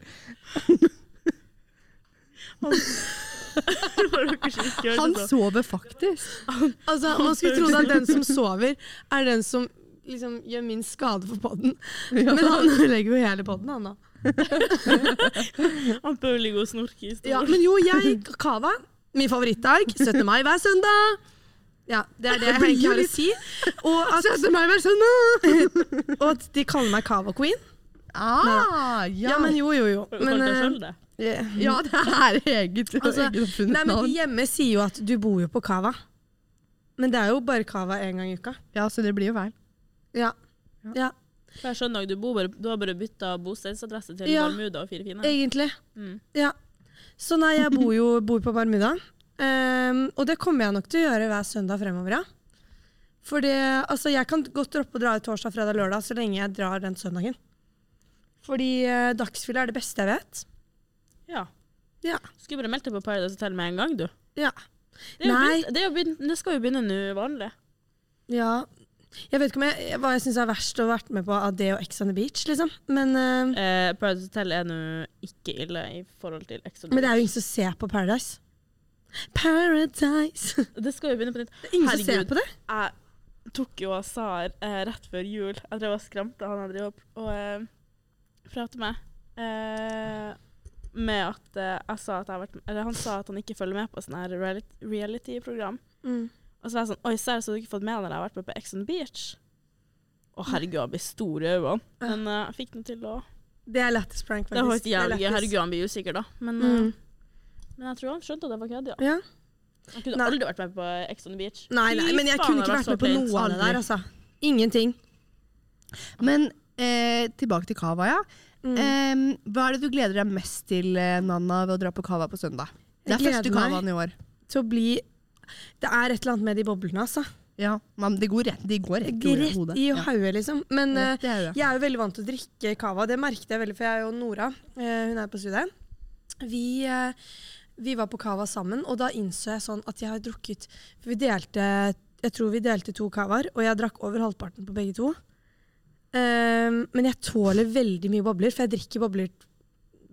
Speaker 2: Han sover faktisk.
Speaker 3: Altså, Man skulle trodd at den (laughs) som sover, er den som liksom gjør minst skade for podden. Men han (laughs) ødelegger jo hele podden, han da.
Speaker 1: Han bør ligge og snorke i
Speaker 3: Ja,
Speaker 1: stolen.
Speaker 3: men jo, jeg Kava. Min favorittdag. 17. mai hver søndag. Ja, Det er det jeg egentlig har å si. Og at,
Speaker 2: meg hver søndag!
Speaker 3: og at de kaller meg Kava Queen.
Speaker 2: Ah,
Speaker 3: Ja,
Speaker 2: ja.
Speaker 3: men jo, jo,
Speaker 1: (laughs)
Speaker 3: jo.
Speaker 1: Har du kalt
Speaker 3: Men,
Speaker 1: deg
Speaker 3: eh,
Speaker 1: selv det?
Speaker 3: eh,
Speaker 2: ja, det er eget
Speaker 3: Altså,
Speaker 2: eget oppfunnet
Speaker 3: Nei, men
Speaker 2: navn.
Speaker 3: Hjemme sier jo at du bor jo på Cava. Men det er jo bare Cava én gang i uka.
Speaker 2: Ja, så det blir jo feil.
Speaker 3: Ja. ja.
Speaker 1: Hver søndag du bor, bare- du har bare bytta bostedsadresse til
Speaker 3: Ja.
Speaker 1: Dalmuda og Fire fine.
Speaker 3: Egentlig.
Speaker 1: Mm.
Speaker 3: Ja. Så nei, jeg bor jo bor på Barmuda. Ehm, og det kommer jeg nok til å gjøre hver søndag fremover, ja. For det, altså, jeg kan godt droppe å dra ut torsdag, fredag, lørdag så lenge jeg drar den søndagen. Fordi eh, dagsfylla er det beste jeg vet.
Speaker 1: Ja.
Speaker 3: Ja.
Speaker 1: Skulle bare meldt deg på Paradise Hotel med en gang, du.
Speaker 3: Ja.
Speaker 1: Det, er jo
Speaker 3: Nei.
Speaker 1: begynt, det, er jo begynt, det skal jo begynne nå, vanlig.
Speaker 3: ja. Jeg vet ikke om jeg, hva jeg syns er verst å ha vært med på av det og Ex on the Beach, liksom. Men, eh,
Speaker 1: Eh, Paradise Hotel er nå ikke ille i forhold til Ex on the
Speaker 3: men det er jo ingen som ser på Paradise. Paradise! (laughs)
Speaker 1: Beach. Det skal jo begynne på nytt.
Speaker 3: Det er ingen som ser
Speaker 1: Herregud.
Speaker 3: på det.
Speaker 1: Jeg tok jo og sa eh, rett før jul Jeg drev og skremte han jeg drev og, og eh, pratet med. Eh, med at eh, jeg sa at jeg har vært Eller han sa at han ikke følger med på sånne her reality- reality-program. Og så var jeg sånn Oi, seriøst, har du ikke fått med deg at jeg har vært med på Ex on the Beach? Å herregud, han blir stor i øynene. Men eh, jeg fikk den til å
Speaker 3: Det er lættis prank, faktisk.
Speaker 1: Det var ikke jævlig gøy.
Speaker 3: Det er lættis.
Speaker 1: Herregud, han blir usikker, da. Men, eh,
Speaker 3: Mm.
Speaker 1: men jeg tror han skjønte at det var kødd, ja.
Speaker 3: Ja.
Speaker 1: Han kunne
Speaker 3: Nei.
Speaker 1: aldri vært med på Ex on the Beach.
Speaker 3: Nei, nei,
Speaker 1: Fy
Speaker 3: men jeg
Speaker 1: faen,
Speaker 3: kunne
Speaker 1: det
Speaker 3: ikke
Speaker 1: var
Speaker 3: vært
Speaker 1: så
Speaker 3: med på
Speaker 1: fint.
Speaker 3: noe av det der, altså. Ingenting.
Speaker 2: Men eh, tilbake til Cava, ja.
Speaker 1: Mm.
Speaker 2: Eh, hva er det du gleder deg mest til, eh, Nanna, ved å dra på Cava på søndag? Det
Speaker 3: Jeg
Speaker 2: er første
Speaker 3: gleder meg.
Speaker 2: Cavaen i år.
Speaker 3: Til å bli Det er et eller annet med de boblene, altså.
Speaker 2: Ja, men det går rett, de går rett, i ordet-
Speaker 3: Rett
Speaker 2: hodet.
Speaker 3: i
Speaker 2: Ja,
Speaker 3: hodet, liksom. Men eh,
Speaker 2: rett i hodet.
Speaker 3: Jeg er jo veldig vant til å drikke cava. Det merket jeg veldig, for jeg og Nora, eh, hun er på studiet, vi, eh, vi var på cava sammen, og da innså jeg sånn at jeg har drukket For vi delte Jeg tror vi delte to cavaer, og jeg drakk over halvparten på begge to. Ehm, men jeg tåler veldig mye bobler, for jeg drikker bobler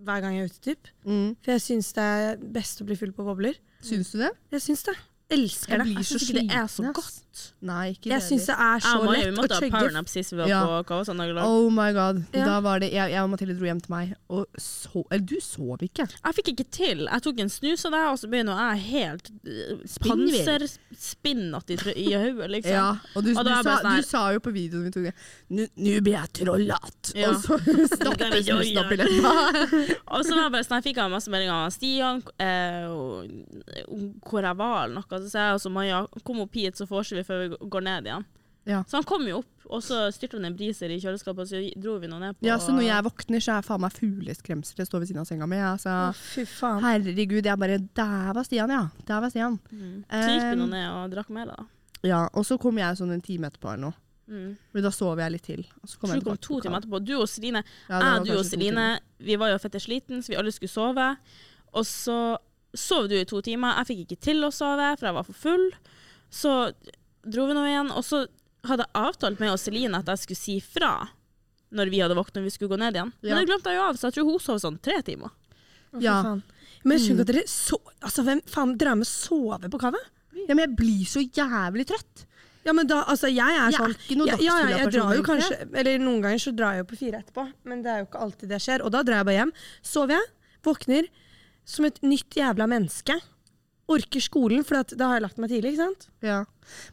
Speaker 3: hver gang jeg er ute, typ.
Speaker 2: Mm.
Speaker 3: For jeg syns det er best å bli full på bobler.
Speaker 2: Syns du det?
Speaker 3: Jeg syns det. Elsker
Speaker 2: Jeg
Speaker 3: det.
Speaker 2: blir
Speaker 3: Jeg
Speaker 2: så
Speaker 3: syns ikke det er så
Speaker 2: sliten, ass.
Speaker 3: godt.
Speaker 2: Nei, ikke
Speaker 3: Jeg syns det er
Speaker 1: Jeg
Speaker 3: så
Speaker 1: og Maja, vi
Speaker 3: lett å
Speaker 1: måtte ha
Speaker 3: chugge.
Speaker 1: powernap sist vi var
Speaker 2: Ja.
Speaker 1: på sånn Kavasand Dagelag.
Speaker 2: Oh my god.
Speaker 3: Ja.
Speaker 2: Da var det, jeg, jeg og Mathilde dro hjem til meg, og så Eller du sov ikke.
Speaker 1: Jeg fikk ikke til. Jeg tok en snus av deg, og så begynner jeg helt øh,
Speaker 2: Spinnvill.
Speaker 1: panserspinnete i, tr- i hodet, liksom.
Speaker 2: Ja, og du,
Speaker 1: Og da
Speaker 2: du,
Speaker 1: er jeg
Speaker 2: sa,
Speaker 1: bare sånn her-
Speaker 2: du sa jo på videoen vi tok det Nå blir jeg trollete!
Speaker 1: Ja.
Speaker 2: Og så (laughs) stakk
Speaker 1: Den
Speaker 2: du
Speaker 1: videoen,
Speaker 2: snusen opp i
Speaker 1: ja.
Speaker 2: leppa.
Speaker 1: Og så var jeg bare sånn, jeg fikk jeg masse meldinger av Stian, eh, og- om hvor jeg var, eller noe. Så sa jeg også Maja, kom opp hit, så vorser vi før vi g- går ned igjen.
Speaker 2: Ja.
Speaker 1: Så han kom jo opp, og så styrte han en briser i kjøleskapet, og så dro vi nå ned på
Speaker 2: (laughs) Ja, så når jeg våkner, så er faen meg fugleskremselet står ved siden av senga mi. Altså,
Speaker 3: Å, Fy faen.
Speaker 2: herregud, jeg bare Der var Stian, ja. Der var Stian.
Speaker 1: Mm. Så gikk
Speaker 2: Eh,
Speaker 1: vi nå ned og drakk mer, da.
Speaker 2: Ja, og så kom jeg sånn en time etterpå eller noe.
Speaker 1: Mm.
Speaker 2: For da sover jeg litt til. Og så
Speaker 1: Så
Speaker 2: kom jeg
Speaker 1: du kom
Speaker 2: tilbake
Speaker 1: to
Speaker 2: på
Speaker 1: timer
Speaker 2: kava.
Speaker 1: etterpå. Du og Celine,
Speaker 2: Ja, det
Speaker 1: jeg,
Speaker 2: var
Speaker 1: du og
Speaker 2: kanskje to
Speaker 1: Celine, vi var jo fette sliten, så vi alle skulle sove. Og så sov du i to timer. Jeg fikk ikke til å sove, for jeg var for full. Så dro vi nå igjen, og så hadde jeg avtalt med og Celine at jeg skulle si fra når vi hadde våknet og vi skulle gå ned igjen.
Speaker 2: Ja.
Speaker 1: Men det glemte jeg jo av, så jeg tror hun sov sånn tre timer.
Speaker 3: Å, fy
Speaker 2: Ja. Mm.
Speaker 3: faen. Men jeg skjønner ikke at dere so altså, Hvem faen drar med sove på kava?
Speaker 2: Ja, men jeg blir så jævlig trøtt.
Speaker 3: Ja, men da, altså, jeg er
Speaker 2: Jeg er
Speaker 3: sånn
Speaker 2: ikke noe
Speaker 3: ja, ja, ja,
Speaker 2: dagsfulla
Speaker 3: jeg
Speaker 2: person,
Speaker 3: drar jo
Speaker 2: egentlig.
Speaker 3: kanskje Eller noen ganger så drar jeg jo på fire etterpå, men det er jo ikke alltid det skjer. Og da drar jeg bare hjem. Sover jeg, våkner som et nytt jævla menneske. Orker skolen, for at, da har jeg lagt meg tidlig, ikke sant?
Speaker 2: Ja.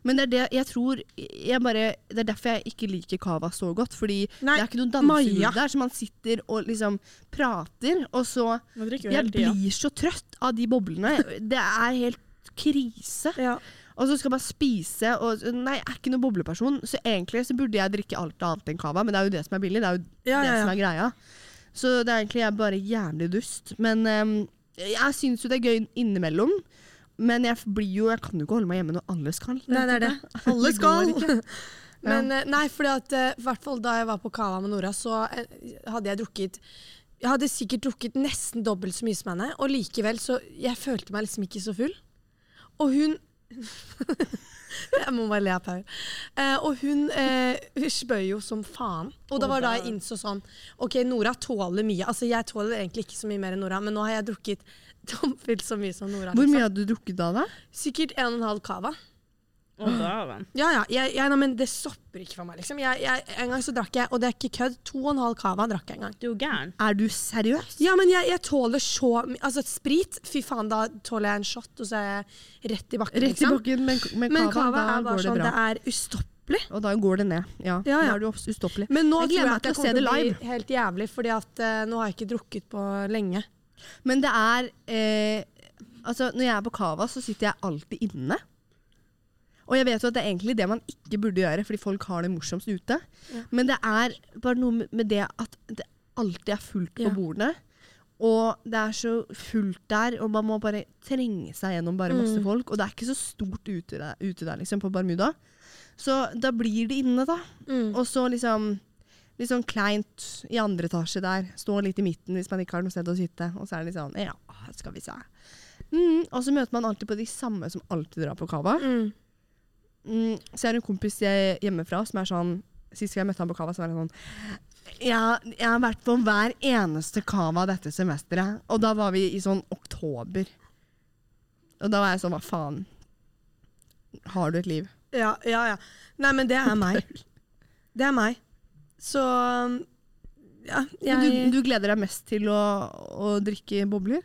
Speaker 2: Men det er det jeg tror jeg bare, Det er derfor jeg ikke liker cava så godt. Fordi
Speaker 3: Nei,
Speaker 2: det er ikke noe
Speaker 3: Maja.
Speaker 2: dansehud der, så man sitter og liksom prater, og så
Speaker 1: Nå drikker vi
Speaker 2: Jeg
Speaker 1: hele tida.
Speaker 2: blir så trøtt av de boblene. Det er helt krise.
Speaker 3: Ja.
Speaker 2: Og så skal man spise og Nei, jeg er ikke noen bobleperson, så egentlig så burde jeg drikke alt annet enn cava, men det er jo det som er billig. Det er jo
Speaker 3: Ja,
Speaker 2: det
Speaker 3: ja, ja.
Speaker 2: som er greia. Så det er egentlig jeg er bare jævlig dust. Men ehm, jeg syns jo det er gøy innimellom. Men jeg blir jo Jeg kan jo ikke holde meg hjemme når alle skal.
Speaker 3: Nei, det er det.
Speaker 2: (laughs)
Speaker 3: Alle
Speaker 2: Det
Speaker 3: skal.
Speaker 2: går ikke.
Speaker 3: (laughs) Men eh, nei, fordi at eh, i hvert fall da jeg var på Cava med Nora, så eh, hadde jeg drukket Jeg hadde sikkert drukket nesten dobbelt så mye som henne, og likevel så Jeg følte meg liksom ikke så full. Og hun (laughs) Jeg må bare le av Paul. Eh, og hun eh, hun spøy jo som faen. Og det var da jeg innså sånn OK, Nora tåler mye. Altså, jeg tåler egentlig ikke så mye mer enn Nora, men nå har jeg drukket (laughs) dobbelt så mye som Nora.
Speaker 2: Hvor
Speaker 3: liksom.
Speaker 2: mye hadde du drukket da, da?
Speaker 3: Sikkert en og en halv Cava.
Speaker 1: Å, dæven.
Speaker 3: Ja, ja. Jeg, jeg, nei, men det stopper ikke for meg, liksom. Jeg, jeg, en gang så drakk jeg, og det er ikke kødd, to og en halv cava drakk jeg en gang.
Speaker 1: Du er jo gæren.
Speaker 2: Er du seriøs?
Speaker 3: Ja, men jeg, jeg tåler så mye Altså, sprit, fy faen, da tåler jeg en shot, og så er jeg rett i bakken.
Speaker 2: Rett i
Speaker 3: liksom.
Speaker 2: bakken, men, men,
Speaker 3: Men
Speaker 2: cava,
Speaker 3: cava
Speaker 2: da
Speaker 3: er
Speaker 2: går
Speaker 3: bare
Speaker 2: det
Speaker 3: sånn,
Speaker 2: bra.
Speaker 3: det er ustoppelig.
Speaker 2: Og da går det ned. Ja,
Speaker 3: Ja, ja.
Speaker 2: Da er du ups- ustoppelig.
Speaker 3: Men nå
Speaker 2: Jeg gleder
Speaker 3: tror jeg
Speaker 2: meg
Speaker 3: at
Speaker 2: til å
Speaker 3: det
Speaker 2: se
Speaker 3: kommer til
Speaker 2: det
Speaker 3: å
Speaker 2: live.
Speaker 3: bli helt jævlig, fordi at eh, nå har jeg ikke drukket på lenge.
Speaker 2: Men det er eh, Altså, når jeg er på Cava, så sitter jeg alltid inne. Og jeg vet jo at det er egentlig det man ikke burde gjøre, fordi folk har det morsomst ute. Men det er bare noe med- med det at det alltid er fullt på
Speaker 3: Ja.
Speaker 2: bordene. Og det er så fullt der, og man må bare trenge seg gjennom bare masse folk. Og det er ikke så stort ute der, ute der liksom, på Barmuda. Så da blir det inne, da.
Speaker 3: Mm.
Speaker 2: Og så liksom Litt sånn kleint i andre etasje der. Stå litt i midten hvis man ikke har noe sted å sitte. Og så er det litt sånn Ja, skal Mm, vi se. Mm, og så møter man alltid på de samme som alltid drar på cava. Mm, så jeg har en kompis jeg, hjemmefra som er sånn Sist gang jeg møtte han på Cava, så var han sånn ja, jeg har vært på hver eneste Cava dette semesteret. Og da var vi i sånn oktober. Og da var jeg sånn Hva faen? Har du et liv?
Speaker 3: Ja, ja, ja. Nei, men det
Speaker 2: (laughs)
Speaker 3: er meg. Det er meg. Så ja, jeg
Speaker 2: Men Du, du gleder deg mest til å, å drikke bobler?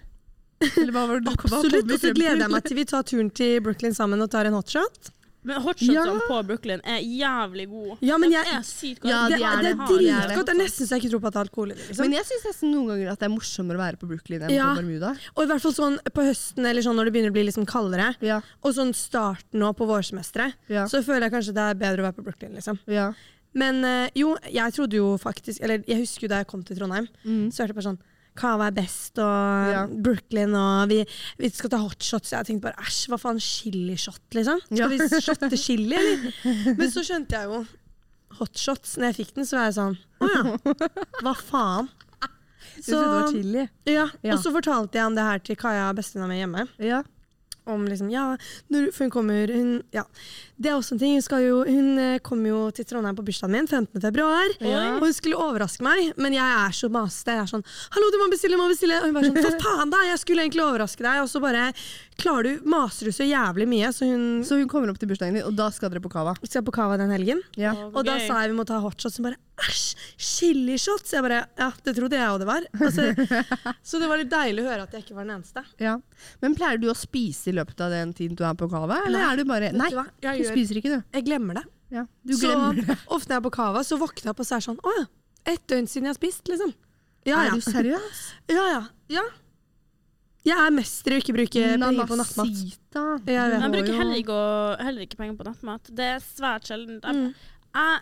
Speaker 2: Eller hva var det du hva kom
Speaker 3: Absolutt.
Speaker 2: vi frem
Speaker 3: Og så
Speaker 2: til?
Speaker 3: gleder
Speaker 2: (laughs)
Speaker 3: jeg meg til vi tar turen til Brooklyn sammen og tar en hotshot.
Speaker 1: Men hotshotsene
Speaker 2: Ja.
Speaker 1: på Brooklyn er jævlig gode.
Speaker 3: Ja, men
Speaker 1: De
Speaker 3: jeg-
Speaker 1: er sykt
Speaker 2: Ja,
Speaker 1: gode.
Speaker 2: de
Speaker 3: det, er, det er
Speaker 1: har de.
Speaker 3: dritgodt. Det er nesten så jeg ikke tror på at det er alkohol i det. Liksom.
Speaker 2: Men jeg syns nesten noen ganger at det er morsommere å være på Brooklyn enn på
Speaker 3: Ja.
Speaker 2: Bermuda.
Speaker 3: Og i hvert fall sånn på høsten eller sånn når det begynner å bli liksom kaldere,
Speaker 2: Ja,
Speaker 3: og sånn starten nå på vårsemesteret,
Speaker 2: Ja.
Speaker 3: så føler jeg kanskje det er bedre å være på Brooklyn, liksom.
Speaker 2: ja.
Speaker 3: Men eh, jo, jeg trodde jo faktisk Eller jeg husker jo da jeg kom til Trondheim,
Speaker 2: Mm.
Speaker 3: så hørte jeg bare sånn Cava er best, og
Speaker 2: Ja.
Speaker 3: Brooklyn, og vi, vi skal ta hotshots. Jeg tenkte bare æsj, hva faen, chilishot, liksom? Skal
Speaker 2: Ja.
Speaker 3: vi shotte
Speaker 2: (laughs)
Speaker 3: chili, eller? Men så skjønte jeg jo hotshots. Når jeg fikk den, så var jeg sånn å ja, hva faen?
Speaker 2: Så, det var chili.
Speaker 3: ja,
Speaker 2: Ja.
Speaker 3: Og så fortalte jeg om det her til Kaja, bestevenninna mi hjemme
Speaker 2: Ja.
Speaker 3: om liksom, ja, når, for hun kommer hun, ja. Det er også en ting, hun, skal jo, hun eh, kom jo til Trondheim på bursdagen min 15. februar,
Speaker 2: Ja.
Speaker 3: og hun skulle overraske meg, men jeg er så masete. Jeg er sånn, hallo, du må bestille, du må bestille. Og hun bare sånn, for faen da, jeg skulle egentlig overraske deg, og så bare klarer du, maser du så jævlig mye, så hun
Speaker 2: Så hun kommer opp til bursdagen din, og da skal dere på Cava.
Speaker 3: skal på kava den helgen.
Speaker 2: Ja.
Speaker 3: Og da sa jeg vi må ta hotshots. Hun bare æsj, chilishots! Jeg bare ja, det trodde jeg òg det var.
Speaker 2: (laughs)
Speaker 3: Altså, så det var litt deilig å høre at jeg ikke var den eneste.
Speaker 2: Ja. Men pleier du å spise i løpet av den tiden du er på Cava? Eller
Speaker 3: Nei.
Speaker 2: er du bare
Speaker 3: Vet
Speaker 2: Nei,
Speaker 3: du hva?
Speaker 2: du
Speaker 3: Jeg, gjør,
Speaker 2: spiser ikke, du.
Speaker 3: jeg glemmer det.
Speaker 2: Ja. Du
Speaker 3: så
Speaker 2: glemmer det.
Speaker 3: ofte når jeg er på kava, så våkner jeg opp og så er jeg sånn Å ja, ett døgn siden jeg har spist, liksom. Ja ja.
Speaker 2: Er du seriøs?
Speaker 3: ja, ja. ja. Jeg er mester i å ikke bruke penger på nattmat.
Speaker 2: Nanasita.
Speaker 3: Jeg vet.
Speaker 1: Jeg
Speaker 2: Må
Speaker 1: bruker
Speaker 2: jo-
Speaker 1: heller ikke, å- heller ikke penger på nattmat. Det er svært sjelden. Jeg,
Speaker 3: Mm.
Speaker 1: jeg,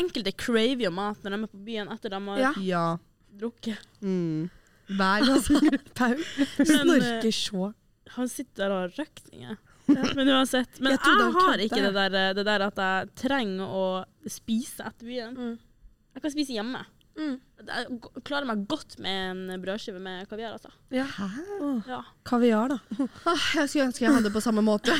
Speaker 1: enkelte craver jo mat når de er på byen etter de har
Speaker 3: Ja.
Speaker 2: Ja.
Speaker 1: drukket.
Speaker 2: Mm. (laughs) Hver gang.
Speaker 3: (laughs) Paul
Speaker 1: Men, eh,
Speaker 3: snorker så.
Speaker 1: han sitter der og har røkninger. (laughs) Men uansett. Men
Speaker 3: Jeg
Speaker 1: jeg,
Speaker 3: trodde han
Speaker 1: har
Speaker 3: kødda,
Speaker 1: ikke det der, det der at jeg trenger å spise etter byen.
Speaker 3: Mm.
Speaker 1: Jeg kan spise hjemme.
Speaker 3: Mm.
Speaker 1: Jeg g- klarer meg godt med en brødskive med kaviar, altså.
Speaker 3: Ja.
Speaker 2: Hæ?
Speaker 3: Åh,
Speaker 1: Ja.
Speaker 3: Kaviar, da.
Speaker 2: Ah, jeg skulle ønske jeg hadde det på samme (laughs) måte.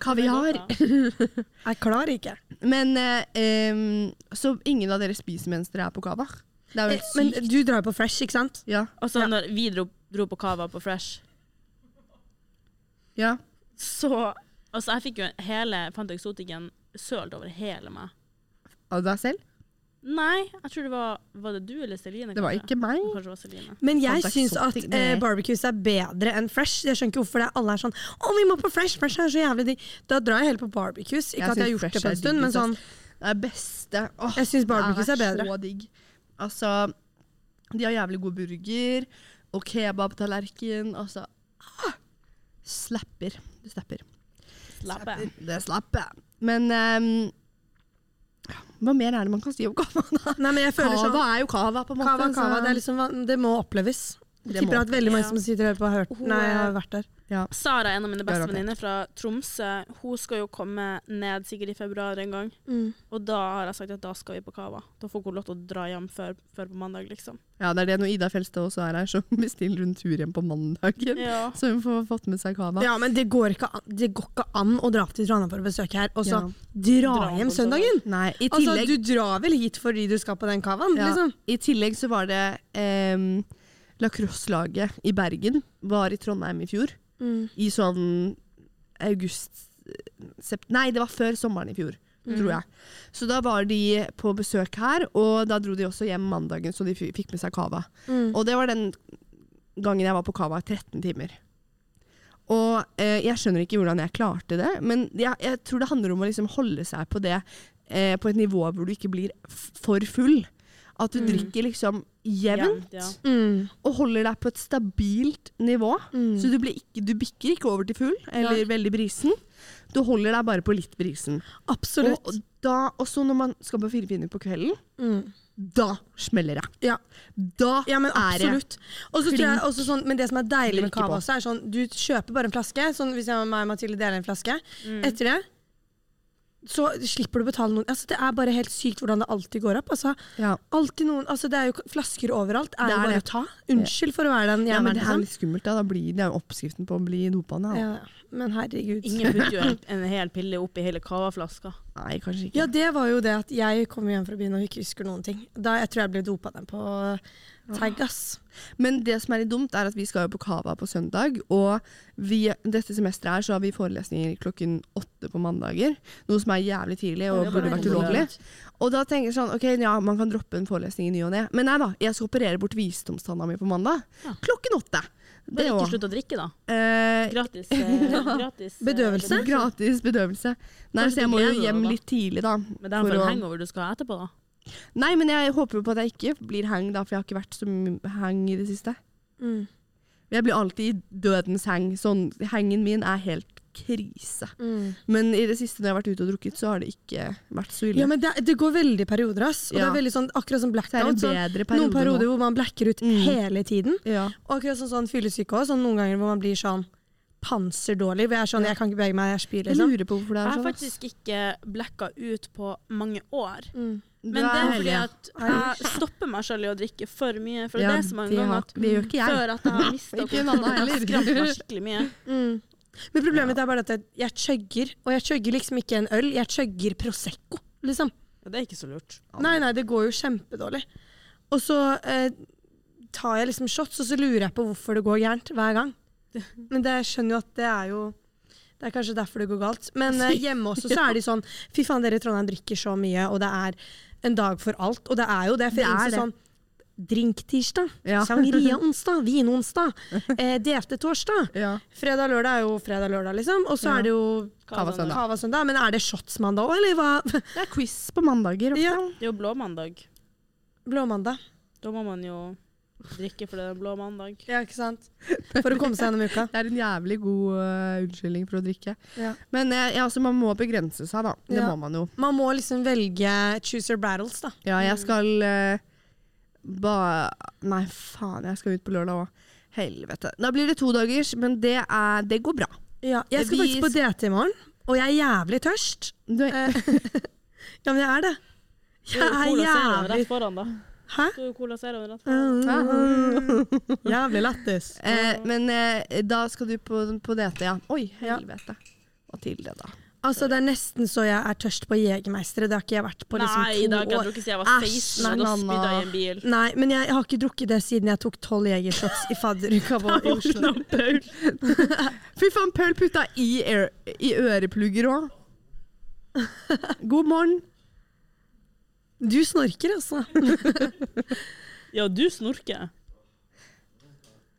Speaker 2: Kaviar.
Speaker 3: Jeg klarer ikke.
Speaker 2: Men eh, em, Så ingen av dere spiser mens dere er på Cava? Det er vel
Speaker 3: Eh, Men
Speaker 2: sykt.
Speaker 3: du drar jo på Fresh, ikke sant?
Speaker 2: (laughs) Ja.
Speaker 1: Altså, når vi dro, dro på Cava på Fresh,
Speaker 2: ja.
Speaker 1: så Altså, jeg fikk jo hele Fanta Exoticen sølt over hele meg.
Speaker 2: Av deg selv?
Speaker 1: Nei, jeg tror det var Var det du eller Celine?
Speaker 2: Det var
Speaker 1: kanskje?
Speaker 2: ikke meg.
Speaker 1: Kanskje det var Celine.
Speaker 3: Men jeg
Speaker 2: Fanta
Speaker 3: syns at
Speaker 2: Exotic,
Speaker 3: eh,
Speaker 2: nei.
Speaker 3: barbecues er bedre enn fresh. Jeg skjønner ikke hvorfor det er alle er sånn Å, vi må på fresh! Fresh er så jævlig digg. Da drar jeg heller på barbecues. Ikke
Speaker 2: Jeg
Speaker 3: at jeg har
Speaker 2: syns
Speaker 3: gjort det
Speaker 2: fresh
Speaker 3: på
Speaker 2: er
Speaker 3: en stund,
Speaker 2: digg,
Speaker 3: men
Speaker 2: ass.
Speaker 3: sånn
Speaker 2: Det er beste. Åh,
Speaker 3: Jeg syns barbecues er bedre.
Speaker 2: Det er så digg. Altså, de har jævlig god burger og kebabtallerken. Altså, ah, slapper. Det slapper.
Speaker 1: Slapp av.
Speaker 2: Det slapper. Men ehm, hva mer er det man kan si om kava? (laughs) da?
Speaker 3: Nei, men jeg føler sånn
Speaker 2: Kava er jo kava, på en sånn måte.
Speaker 3: Kava, kava,
Speaker 2: så-
Speaker 3: det, er liksom, det må oppleves.
Speaker 2: Det
Speaker 3: Jeg tipper
Speaker 2: må
Speaker 3: at veldig mange
Speaker 1: oppleves.
Speaker 3: som sitter og hører på, har hørt
Speaker 1: Hun
Speaker 3: Nei, jeg
Speaker 1: er-
Speaker 3: har vært der.
Speaker 1: Sara, en av mine beste
Speaker 2: Garantert.
Speaker 1: venninner fra Tromsø, hun skal jo komme ned sikkert i februar en gang.
Speaker 3: Mm.
Speaker 1: Og da har jeg sagt at da skal vi på Cava. Da får hun lov til å dra hjem før, før på mandag, liksom.
Speaker 2: Ja, det er det når Ida Felstad også er her, så (laughs) bestiller hun tur hjem på mandagen.
Speaker 1: Ja.
Speaker 2: Så hun får fått med seg kava.
Speaker 3: Ja, men det går, ikke an, det går ikke an å dra opp til Trondheim for å besøke her, og
Speaker 2: Ja.
Speaker 3: så dra,
Speaker 1: Dra
Speaker 3: hjem
Speaker 1: på
Speaker 3: søndagen!
Speaker 2: Nei, i
Speaker 3: Altså,
Speaker 2: tillegg
Speaker 3: du drar vel hit fordi du skal på den kavaen,
Speaker 2: Ja.
Speaker 3: liksom?
Speaker 2: I tillegg så var det um, lacrosse-laget i Bergen var i Trondheim i fjor. I sånn august sept, Nei, det var før sommeren i fjor,
Speaker 3: Mm.
Speaker 2: tror jeg. Så da var de på besøk her, og da dro de også hjem mandagen, så de f fikk med seg cava.
Speaker 3: Mm.
Speaker 2: Og det var den gangen jeg var på cava i 13 timer. Og eh, jeg skjønner ikke hvordan jeg klarte det, men jeg, jeg tror det handler om å liksom holde seg på det eh, på et nivå hvor du ikke blir f for full. At du drikker liksom jevnt,
Speaker 1: Jevnt, ja.
Speaker 3: Mm.
Speaker 2: og holder deg på et stabilt nivå.
Speaker 3: Mm.
Speaker 2: Så du, blir ikke, du bikker ikke over til full eller
Speaker 3: Nei.
Speaker 2: veldig brisen. Du holder deg bare på litt brisen. Og,
Speaker 3: Absolutt.
Speaker 2: og da, også når man skal på Fire pinner på kvelden,
Speaker 3: mm.
Speaker 2: da smeller det.
Speaker 3: Ja.
Speaker 2: Da
Speaker 3: Ja, men
Speaker 2: er det
Speaker 3: absolutt. Og så tror jeg også sånn, men det som er deilig med
Speaker 2: Drikke på.
Speaker 3: cava også, er
Speaker 2: Mm.
Speaker 3: sånn du kjøper bare en flaske. Sånn hvis jeg og meg og Mathilde deler en flaske. Etter det så slipper du å betale noen. Altså, det er bare helt sykt hvordan det alltid går opp. Altså,
Speaker 2: Ja.
Speaker 3: alltid noen, altså, det er jo flasker overalt.
Speaker 2: Det
Speaker 3: Er det
Speaker 2: er
Speaker 3: bare
Speaker 2: det.
Speaker 3: å ta? Unnskyld for å være den
Speaker 2: Ja, men
Speaker 3: jævelen.
Speaker 2: det er
Speaker 3: liksom.
Speaker 2: litt sånn. skummelt. Da. Da blir, det er jo oppskriften på å bli dopa. da.
Speaker 3: ja, men herregud.
Speaker 1: Ingen putter jo en, en hel pille oppi hele cavaflaska.
Speaker 2: Nei, kanskje ikke.
Speaker 3: (laughs) Ja, det var jo det at jeg kom hjem fra byen og ikke husker noen ting. Da, jeg tror jeg ble dopa den på tag, ass.
Speaker 2: Men det som er litt dumt, er at vi skal jo på Cava på søndag. Og vi, dette semesteret her så har vi forelesninger klokken åtte på mandager. Noe som er jævlig tidlig
Speaker 1: Det er
Speaker 2: og
Speaker 1: bare
Speaker 2: burde vært
Speaker 1: veldig
Speaker 2: ulovlig.
Speaker 1: langt.
Speaker 2: Og da tenker jeg sånn, ok, ja, man kan droppe en forelesning i ny og ne. Men nei da, jeg skal operere bort visdomstanna mi på mandag.
Speaker 1: Ja.
Speaker 2: Klokken åtte.
Speaker 1: Bare
Speaker 2: Det
Speaker 1: ikke
Speaker 2: òg.
Speaker 1: slutt å drikke, da.
Speaker 2: (laughs) Eh,
Speaker 1: Gratis. Eh, gratis eh,
Speaker 3: Bedøvelse?
Speaker 1: bedøvelse.
Speaker 2: gratis bedøvelse. Nei,
Speaker 1: Kanskje
Speaker 2: så jeg
Speaker 1: du
Speaker 2: må
Speaker 1: gleder
Speaker 2: jo
Speaker 1: deg
Speaker 2: hjem
Speaker 1: da.
Speaker 2: litt tidlig, da.
Speaker 1: Men det er
Speaker 2: for
Speaker 1: for
Speaker 2: å-
Speaker 1: en hangover du skal ha etterpå, da.
Speaker 2: Nei, men jeg håper jo på at jeg ikke blir hang, da, for jeg har ikke vært så mye hang i det siste.
Speaker 3: Mm.
Speaker 2: Jeg blir alltid i dødens hang. Sånn, hangen min er helt krise.
Speaker 3: Mm.
Speaker 2: Men i det siste når jeg har vært ute og drukket, så har det ikke vært så ille.
Speaker 3: Ja, men det, det går veldig i perioder, ass. Og
Speaker 2: Ja.
Speaker 3: det er veldig sånn, akkurat som
Speaker 2: så er
Speaker 3: blackout.
Speaker 2: det
Speaker 3: Sånn,
Speaker 2: bedre
Speaker 3: noen
Speaker 2: perioder
Speaker 3: perioder
Speaker 2: nå.
Speaker 3: hvor man blacker ut
Speaker 2: Mm.
Speaker 3: hele tiden.
Speaker 2: Ja.
Speaker 3: Og akkurat sånn, sånn fyllesyke også, sånn noen ganger hvor man blir sånn panserdårlig. Hvor jeg er sånn, jeg kan ikke bevege meg, jeg spyr,
Speaker 2: Jeg
Speaker 3: liksom.
Speaker 2: lurer på hvorfor det
Speaker 1: Jeg
Speaker 2: er
Speaker 1: har
Speaker 2: sånn. ass.
Speaker 1: faktisk ikke blacka ut på mange år.
Speaker 3: Mm.
Speaker 1: Men det
Speaker 2: Du
Speaker 1: er fordi
Speaker 2: heldig.
Speaker 1: at jeg stopper meg selv i å drikke for mye. For
Speaker 2: Ja,
Speaker 1: det er så mange
Speaker 2: det har-
Speaker 1: ganger at
Speaker 2: Det gjør ikke jeg.
Speaker 1: før at jeg har mista
Speaker 2: Ikke en annen heller.
Speaker 1: skramper meg skikkelig mye.
Speaker 3: Mm. Men problemet mitt er bare at jeg- jeg chugger, og jeg chugger liksom ikke en øl, jeg chugger Prosecco, liksom.
Speaker 1: Og det er ikke så lurt.
Speaker 3: Nei, nei, det går jo kjempedårlig. Og så eh, tar jeg liksom shots, og så lurer jeg på hvorfor det går gærent
Speaker 2: (laughs)
Speaker 3: hver gang. Men det, jeg skjønner jo at det er jo Det er kanskje derfor det går galt. Men
Speaker 2: (laughs)
Speaker 3: eh, hjemme også så er de sånn Fy faen, dere i Trondheim drikker så mye, og det er en dag for alt. Og det er jo det. For
Speaker 2: Det
Speaker 3: jeg
Speaker 2: er
Speaker 3: innser
Speaker 2: det.
Speaker 3: sånn Drinktirsdag,
Speaker 2: Ja. (laughs)
Speaker 3: sangria-onsdag, vinonsdag, eh, delte-torsdag.
Speaker 2: Ja.
Speaker 3: Fredag lørdag er jo fredag lørdag, liksom. Og så
Speaker 2: Ja.
Speaker 3: er det jo
Speaker 2: Kava søndag.
Speaker 3: Kava søndag. Men er det shotsmandag òg, eller hva? (laughs)
Speaker 2: Det er quiz på mandager. ofte.
Speaker 3: Ja.
Speaker 1: Det er jo blåmandag.
Speaker 3: Blåmandag.
Speaker 1: Da må man jo drikke for det er blå
Speaker 2: (laughs)
Speaker 1: mandag.
Speaker 3: Ja, ikke sant? For å komme seg gjennom uka.
Speaker 2: Det er en jævlig god øh, unnskyldning for å drikke.
Speaker 3: (laughs) Ja.
Speaker 2: Men eh, ja, altså, man må begrense seg, da. Det
Speaker 3: Ja.
Speaker 2: må man jo.
Speaker 3: Man må liksom velge choose your battles, da.
Speaker 2: Ja, jeg skal eh, ba... Nei, faen, jeg skal ut på lørdag òg. Helvete. Da blir det to dagers, men det, er, det går bra.
Speaker 3: Ja, jeg skal
Speaker 2: Vi-
Speaker 3: faktisk på DT i morgen, og jeg er jævlig tørst.
Speaker 2: Du, (laughs)
Speaker 3: Ja, men jeg er det. Jeg er
Speaker 1: Cola Zeroen
Speaker 3: jævlig
Speaker 1: rett foran, da.
Speaker 3: Hæ?
Speaker 1: Så er jo Cola Zeroen rett foran.
Speaker 2: Hæ?
Speaker 3: Jævlig lættis.
Speaker 2: eh, men eh, da skal du på, på DT, ja. Oi, helvete. Mathilde, da.
Speaker 3: Altså, det er nesten så jeg er tørst på Jegermeistere. Det har ikke jeg vært på liksom
Speaker 1: Nei, det har
Speaker 3: to
Speaker 1: ikke jeg
Speaker 3: år.
Speaker 1: drukket siden jeg var
Speaker 3: Æsj,
Speaker 1: 16,
Speaker 2: nei,
Speaker 1: og da
Speaker 2: mamma.
Speaker 1: spydde jeg i en
Speaker 2: (laughs)
Speaker 1: bil.
Speaker 3: Nei, men jeg, jeg har ikke drukket det siden jeg tok tolv jegershots i fadderuka (laughs) vår i Oslo.
Speaker 2: Fy faen, Paul putta i, air- i øreplugger (laughs) òg. God morgen.
Speaker 3: Du snorker, altså.
Speaker 1: Ja, du snorker.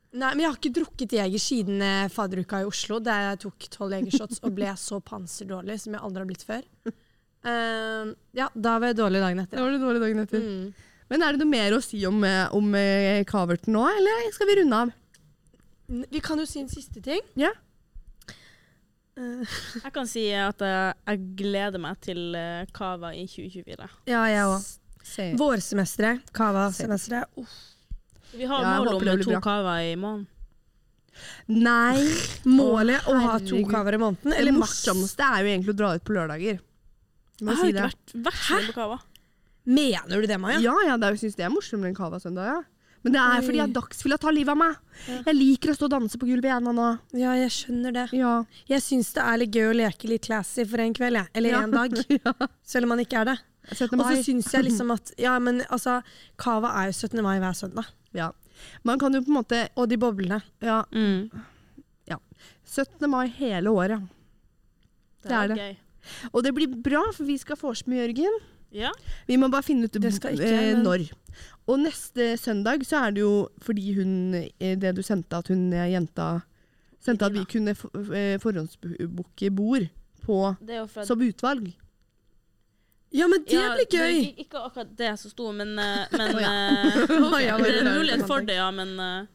Speaker 3: Nei, men jeg har ikke drukket jeger siden eh, fadderuka i Oslo, der jeg tok tolv jegershots og ble så panserdårlig som jeg aldri har blitt før. Eh, ja, da var jeg dårlig dagen etter.
Speaker 2: Det var det dårlig dagen etter.
Speaker 3: Mm.
Speaker 2: Men er det noe mer å si om, eh, om eh, Kaverten nå, eller skal vi runde av?
Speaker 3: N- Vi kan jo si en siste ting.
Speaker 2: Ja.
Speaker 3: Eh,
Speaker 1: Jeg kan si at eh, jeg gleder meg til eh, Cava i 2024.
Speaker 3: ja, jeg òg.
Speaker 2: Se.
Speaker 3: Vårsemesteret, Cava-semesteret. Uff.
Speaker 1: Vi har
Speaker 2: Ja, jeg
Speaker 1: mål
Speaker 2: håper
Speaker 1: om
Speaker 2: det blir
Speaker 1: to
Speaker 2: bra.
Speaker 1: Cava i måneden.
Speaker 2: Nei.
Speaker 3: Målet å ha to
Speaker 2: herregud.
Speaker 3: cavaer i måneden,
Speaker 2: Det
Speaker 3: eller maks
Speaker 2: morsomste er jo egentlig å dra ut på lørdager.
Speaker 1: Jeg
Speaker 2: Må
Speaker 1: har
Speaker 2: si
Speaker 1: ikke
Speaker 2: det.
Speaker 1: vært, vært så mye på Cava.
Speaker 3: Mener du det, Maja?
Speaker 2: Ja, ja, det er- jeg syns det er morsommere enn Cava søndag, ja. Men det er fordi jeg dagsfylla tar livet av meg. Jeg liker å stå og danse på gulvet igjen nå.
Speaker 3: Ja, jeg skjønner det.
Speaker 2: Ja.
Speaker 3: Jeg syns det er litt gøy å leke litt classy for en kveld, jeg.
Speaker 2: (laughs)
Speaker 3: Eller
Speaker 2: Ja.
Speaker 3: en dag. Selv om man ikke er det.
Speaker 2: 17.
Speaker 3: Og
Speaker 2: mai.
Speaker 3: så syns jeg (laughs) liksom at Ja, men altså, Cava er jo 17. mai hver søndag.
Speaker 2: Ja. Man kan jo på en måte
Speaker 3: Og de boblene.
Speaker 2: Ja,
Speaker 1: Mm.
Speaker 2: 17. mai hele året. Det er det.
Speaker 1: gøy.
Speaker 2: Og det blir bra, for vi skal vorspiel med Jørgen.
Speaker 1: Ja.
Speaker 2: Vi må bare finne ut
Speaker 3: Det skal ikke
Speaker 2: eh,
Speaker 3: jeg, men-
Speaker 2: når. Og neste søndag så er det jo fordi hun eh, Det du sendte at hun eh, jenta Sendte at vi kunne f- eh, forhåndsbooke bord på,
Speaker 1: Det er jo fra
Speaker 2: som utvalg.
Speaker 3: Ja, men det
Speaker 1: Ja,
Speaker 3: blir gøy!
Speaker 1: Ikke, ikke akkurat det som sto, men,
Speaker 3: (laughs)
Speaker 1: eh, men
Speaker 2: Å,
Speaker 1: eh,
Speaker 3: Å, (laughs) ja,
Speaker 1: Det er en
Speaker 3: bare-
Speaker 1: mulighet for det, ja, men, eh,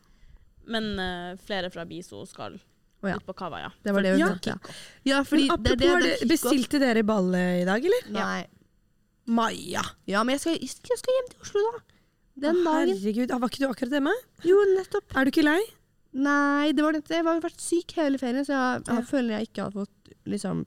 Speaker 1: men eh, flere fra BISO skal
Speaker 2: Å, ja.
Speaker 1: ut på Cava, ja.
Speaker 2: Det var det hun
Speaker 3: Ja.
Speaker 2: sendte. Ja, ja fordi
Speaker 3: Men
Speaker 2: det
Speaker 3: apropos,
Speaker 2: er det,
Speaker 3: har
Speaker 2: det
Speaker 3: dere-
Speaker 2: er kickoff.
Speaker 3: bestilte dere ball eh, i dag, eller?
Speaker 2: Nei.
Speaker 3: Maja!
Speaker 2: Ja, men jeg skal, jeg skal hjem til Oslo, da. Den
Speaker 3: Å,
Speaker 2: dagen.
Speaker 3: Herregud, ah, var ikke du akkurat hjemme?
Speaker 2: Jo, nettopp.
Speaker 3: Er du ikke lei?
Speaker 2: Nei, det var det. Jeg har jo vært syk hele ferien, så jeg, jeg føler jeg ikke har fått liksom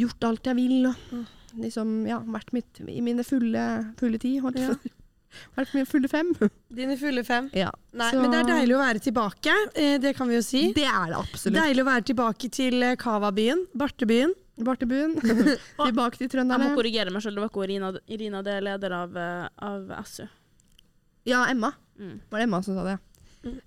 Speaker 2: gjort alt jeg vil, og liksom, ja, vært mitt, i mine fulle, fulle ti, holdt jeg
Speaker 3: Ja.
Speaker 2: på å si. (laughs) Vært mine fulle fem.
Speaker 3: Dine fulle fem.
Speaker 2: Ja.
Speaker 3: Nei,
Speaker 2: Så-
Speaker 3: men det er deilig å være tilbake. eh, Det kan vi jo si.
Speaker 2: Det er det absolutt.
Speaker 3: Deilig å være tilbake til eh, Kava-byen. Bartebyen.
Speaker 2: (laughs) Bartebuen, tilbake til
Speaker 1: Jeg må
Speaker 2: trønderne.
Speaker 1: korrigere meg selv, det var ikke Irina, Irina det er leder av, eh, av SU.
Speaker 2: Ja, Emma.
Speaker 1: Mm.
Speaker 2: Var det Emma som sa det?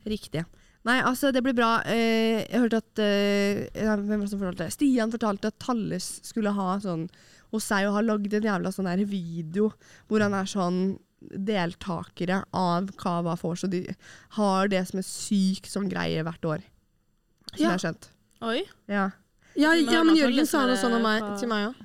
Speaker 2: Riktig. Nei, altså, det blir bra. Eh, jeg hørte at eh, ja, Hvem var det som fortalte det? Stian fortalte at Talles skulle ha sånn hos seg og har lagd en jævla sånn der video hvor han er sånn deltakere av Kava Force, og de har det som en syk sånn greie hvert år. Som jeg
Speaker 3: Ja.
Speaker 2: har skjønt.
Speaker 1: Oi.
Speaker 2: Ja.
Speaker 3: Ja,
Speaker 1: Men
Speaker 3: ja
Speaker 1: har
Speaker 3: men
Speaker 1: man
Speaker 3: Jørgen
Speaker 1: sånn
Speaker 3: sa noe
Speaker 1: litt mer,
Speaker 3: sånn om meg,
Speaker 1: eh,
Speaker 3: til meg òg.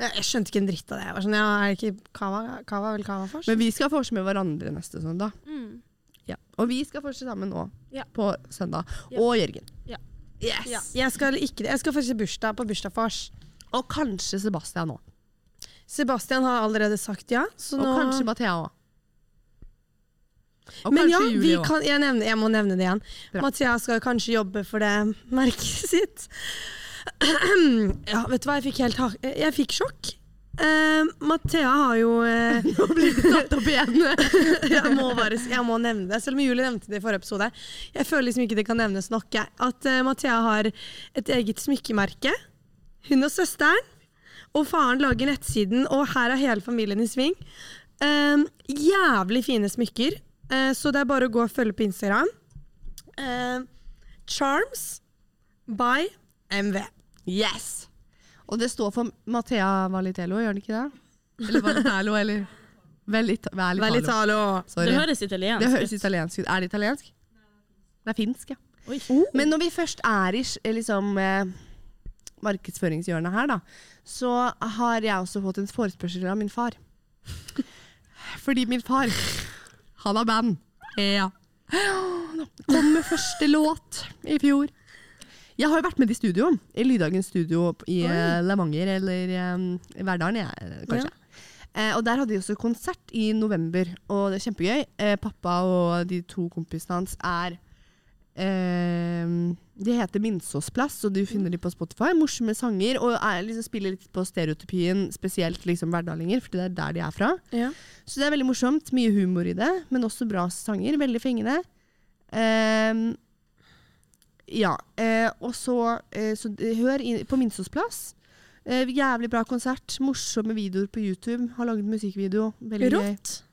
Speaker 3: Jeg skjønte ikke en dritt av det. Jeg var sånn, ja, er det ikke Kava? Kava er vel Kava først?
Speaker 2: Men vi skal forse med hverandre neste søndag.
Speaker 1: Mm.
Speaker 2: Ja. Og vi skal forse sammen nå,
Speaker 1: Ja.
Speaker 2: på søndag.
Speaker 1: Ja.
Speaker 2: Og Jørgen.
Speaker 1: Ja.
Speaker 2: Yes!
Speaker 3: Ja. Jeg skal ikke det. Jeg skal faktisk i bursdag på bursdagsfars.
Speaker 2: Og kanskje Sebastian òg.
Speaker 3: Sebastian har allerede sagt ja. Så
Speaker 2: Og
Speaker 3: nå...
Speaker 2: kanskje Mathea òg. Og
Speaker 3: Men ja,
Speaker 2: kanskje
Speaker 3: vi
Speaker 2: Julie òg.
Speaker 3: kan, jeg, nevner, jeg må nevne det igjen.
Speaker 2: Bra.
Speaker 3: Mathea skal jo kanskje jobbe for det merket (laughs) sitt. ja, vet du hva, jeg fikk helt ha Jeg fikk sjokk. Eh, Mathea har jo eh,
Speaker 2: Nå blir det tatt opp igjen.
Speaker 3: (laughs) jeg, må bare, s- jeg må nevne det, selv om Julie nevnte det i forrige episode. Jeg føler liksom ikke det kan nevnes nok. Jeg. At eh, Mathea har et eget smykkemerke. Hun og søsteren. Og faren lager nettsiden, og her er hele familien i sving. Eh, jævlig fine smykker. Eh, så det er bare å gå og følge på Instagram. Eh, Charms by MV.
Speaker 2: Yes! Og det står for Mathea Valitello, gjør det ikke det? Eller Valitello, eller Velita- Valitalo.
Speaker 3: Velitalo.
Speaker 1: Det
Speaker 2: Sorry.
Speaker 1: høres italiensk
Speaker 2: Det høres italiensk ut. Er det italiensk? Det er finsk, ja.
Speaker 1: Oi.
Speaker 3: Oh,
Speaker 2: Men når vi først er i s- liksom, eh, markedsføringshjørnet her, da, så har jeg også fått en forespørsel av min (laughs) far. Fordi min far, han har band. Ja. Kom med første låt i fjor. Jeg har jo vært med i studio, i Lyddagens studio i eh, Levanger, eller eh, i Verdalen, jeg, kanskje. Eh, og der hadde de også konsert i november, og det er kjempegøy. Eh, pappa og de to kompisene hans er eh, De heter Minsåsplass, og
Speaker 3: Mm.
Speaker 2: du finner de på Spotify. Morsomme sanger, og er, liksom, spiller litt på stereotypien, spesielt liksom verdalinger, for det er der de er fra.
Speaker 3: Ja.
Speaker 2: Så det er veldig morsomt. Mye humor i det, men også bra sanger. Veldig fengende. Ehm, ja. eh, og så, eh, så d- hør inn på Minsås plass. Eh, jævlig bra konsert. Morsomme videoer på YouTube. Har laget musikkvideo. Veldig gøy.
Speaker 3: Rått.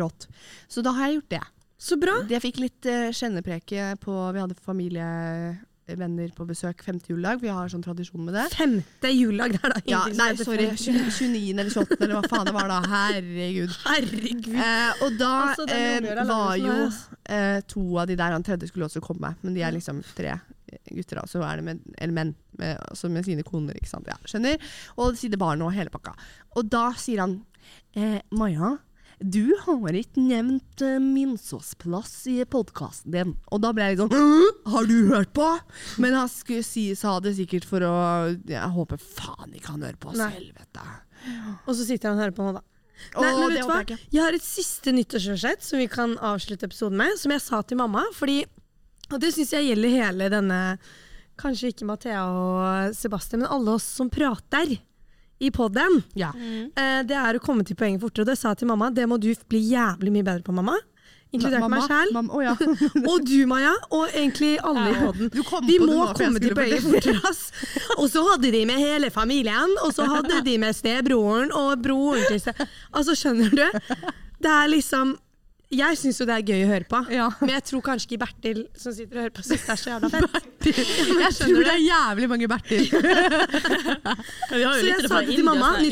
Speaker 2: Rått. Så da har jeg gjort det.
Speaker 3: Så bra.
Speaker 2: Jeg fikk litt eh, kjennepreke på Vi hadde familievenner på besøk femte juledag. Vi har sånn tradisjon med det.
Speaker 3: Femte juledag. Det er da
Speaker 2: Ja,
Speaker 3: ingenting som
Speaker 2: nei,
Speaker 3: heter
Speaker 2: sorry.
Speaker 3: femte.
Speaker 2: 29. eller 28. eller hva faen det var da. Herregud.
Speaker 3: Herregud.
Speaker 2: Eh, og da
Speaker 3: Altså, den
Speaker 2: eh,
Speaker 3: jordbøra
Speaker 2: var
Speaker 3: lager sånn
Speaker 2: jo
Speaker 3: her,
Speaker 2: eh, to av de der, han tredje skulle også komme, men de er liksom tre eh, gutter, da, så er det med, eller menn, med, altså med sine koner, ikke sant, ja, skjønner, og sine barn og hele pakka. Og da sier han, eh, Maja, du har ikke nevnt eh, Minsåsplass i podcasten din. Og da ble jeg litt sånn, «Hæ? har du hørt på? Men han skulle si, sa det sikkert for å, jeg håper faen ikke han hører på oss,
Speaker 3: Nei.
Speaker 2: helvete.
Speaker 3: Og så sitter han og hører på nå, da.
Speaker 2: Og
Speaker 3: Nei, men vet
Speaker 2: det
Speaker 3: du hva?
Speaker 2: håper jeg ikke.
Speaker 3: Jeg har et siste nyttårsforsett som vi kan avslutte episoden med, som jeg sa til mamma. Fordi, og det syns jeg gjelder hele denne Kanskje ikke Mathea og Sebastian, men alle oss som prater i poden.
Speaker 2: Ja.
Speaker 3: Eh, det er å komme til poenget fortere. Og det sa jeg til mamma. Det må du bli jævlig mye bedre på, mamma. Inkludert
Speaker 2: Mamma,
Speaker 3: meg sjæl.
Speaker 2: mamma, (laughs) å ja.
Speaker 3: (laughs) Og du, Maja. Og egentlig alle i poden.
Speaker 2: Du kom
Speaker 3: Vi
Speaker 2: på det
Speaker 3: må
Speaker 2: nå, for jeg
Speaker 3: komme til
Speaker 2: skulle
Speaker 3: poenget fortere. ass. Og så hadde de med hele familien, og så hadde de med stebroren og broren til seg. Altså, skjønner du? Det er liksom Jeg syns jo det er gøy å høre på,
Speaker 2: Ja.
Speaker 3: men jeg tror kanskje ikke Bertil som sitter og hører på, syns det er så jævla fett.
Speaker 2: Jeg tror det er jævlig mange Bertil.
Speaker 1: Men vi har jo
Speaker 3: Så jeg
Speaker 1: lyttere
Speaker 3: sa
Speaker 1: fra
Speaker 3: det til
Speaker 1: India, så vi har
Speaker 3: mamma,
Speaker 1: sånn 14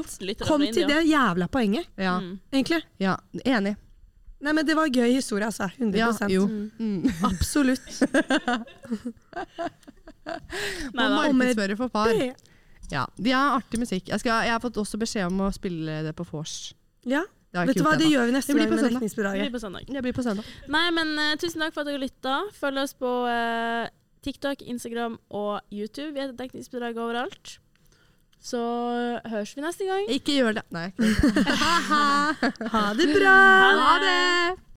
Speaker 3: nyttårsforsett,
Speaker 1: lyttere
Speaker 3: kom
Speaker 1: fra
Speaker 3: til
Speaker 1: India.
Speaker 3: det jævla poenget,
Speaker 2: Ja,
Speaker 3: egentlig.
Speaker 2: ja enig.
Speaker 3: Nei, men det var en gøy historie, altså. 100
Speaker 2: Ja, jo.
Speaker 3: Absolutt.
Speaker 1: Nei,
Speaker 2: Og
Speaker 1: da.
Speaker 3: Og med
Speaker 2: markedsfører for far. Ja, De har artig musikk. Jeg, skal, jeg har fått også beskjed om å spille det på vors.
Speaker 3: Ja.
Speaker 2: Det har jeg
Speaker 3: Vet
Speaker 2: ikke
Speaker 3: du hva,
Speaker 2: gjort
Speaker 3: det
Speaker 2: ennå.
Speaker 3: gjør vi neste
Speaker 2: Det blir på
Speaker 3: gang med
Speaker 2: søndag.
Speaker 1: Det
Speaker 3: dekningsbidraget.
Speaker 1: blir på søndag.
Speaker 2: Det blir på søndag.
Speaker 1: Nei, men eh, tusen takk for at dere lytta. Følg oss på eh, TikTok, Instagram og YouTube. Vi heter Dekningsbidrag overalt. Så eh, høres vi neste gang.
Speaker 2: (laughs) Ikke gjør det. Nei.
Speaker 3: Ha det bra!
Speaker 2: Ha det!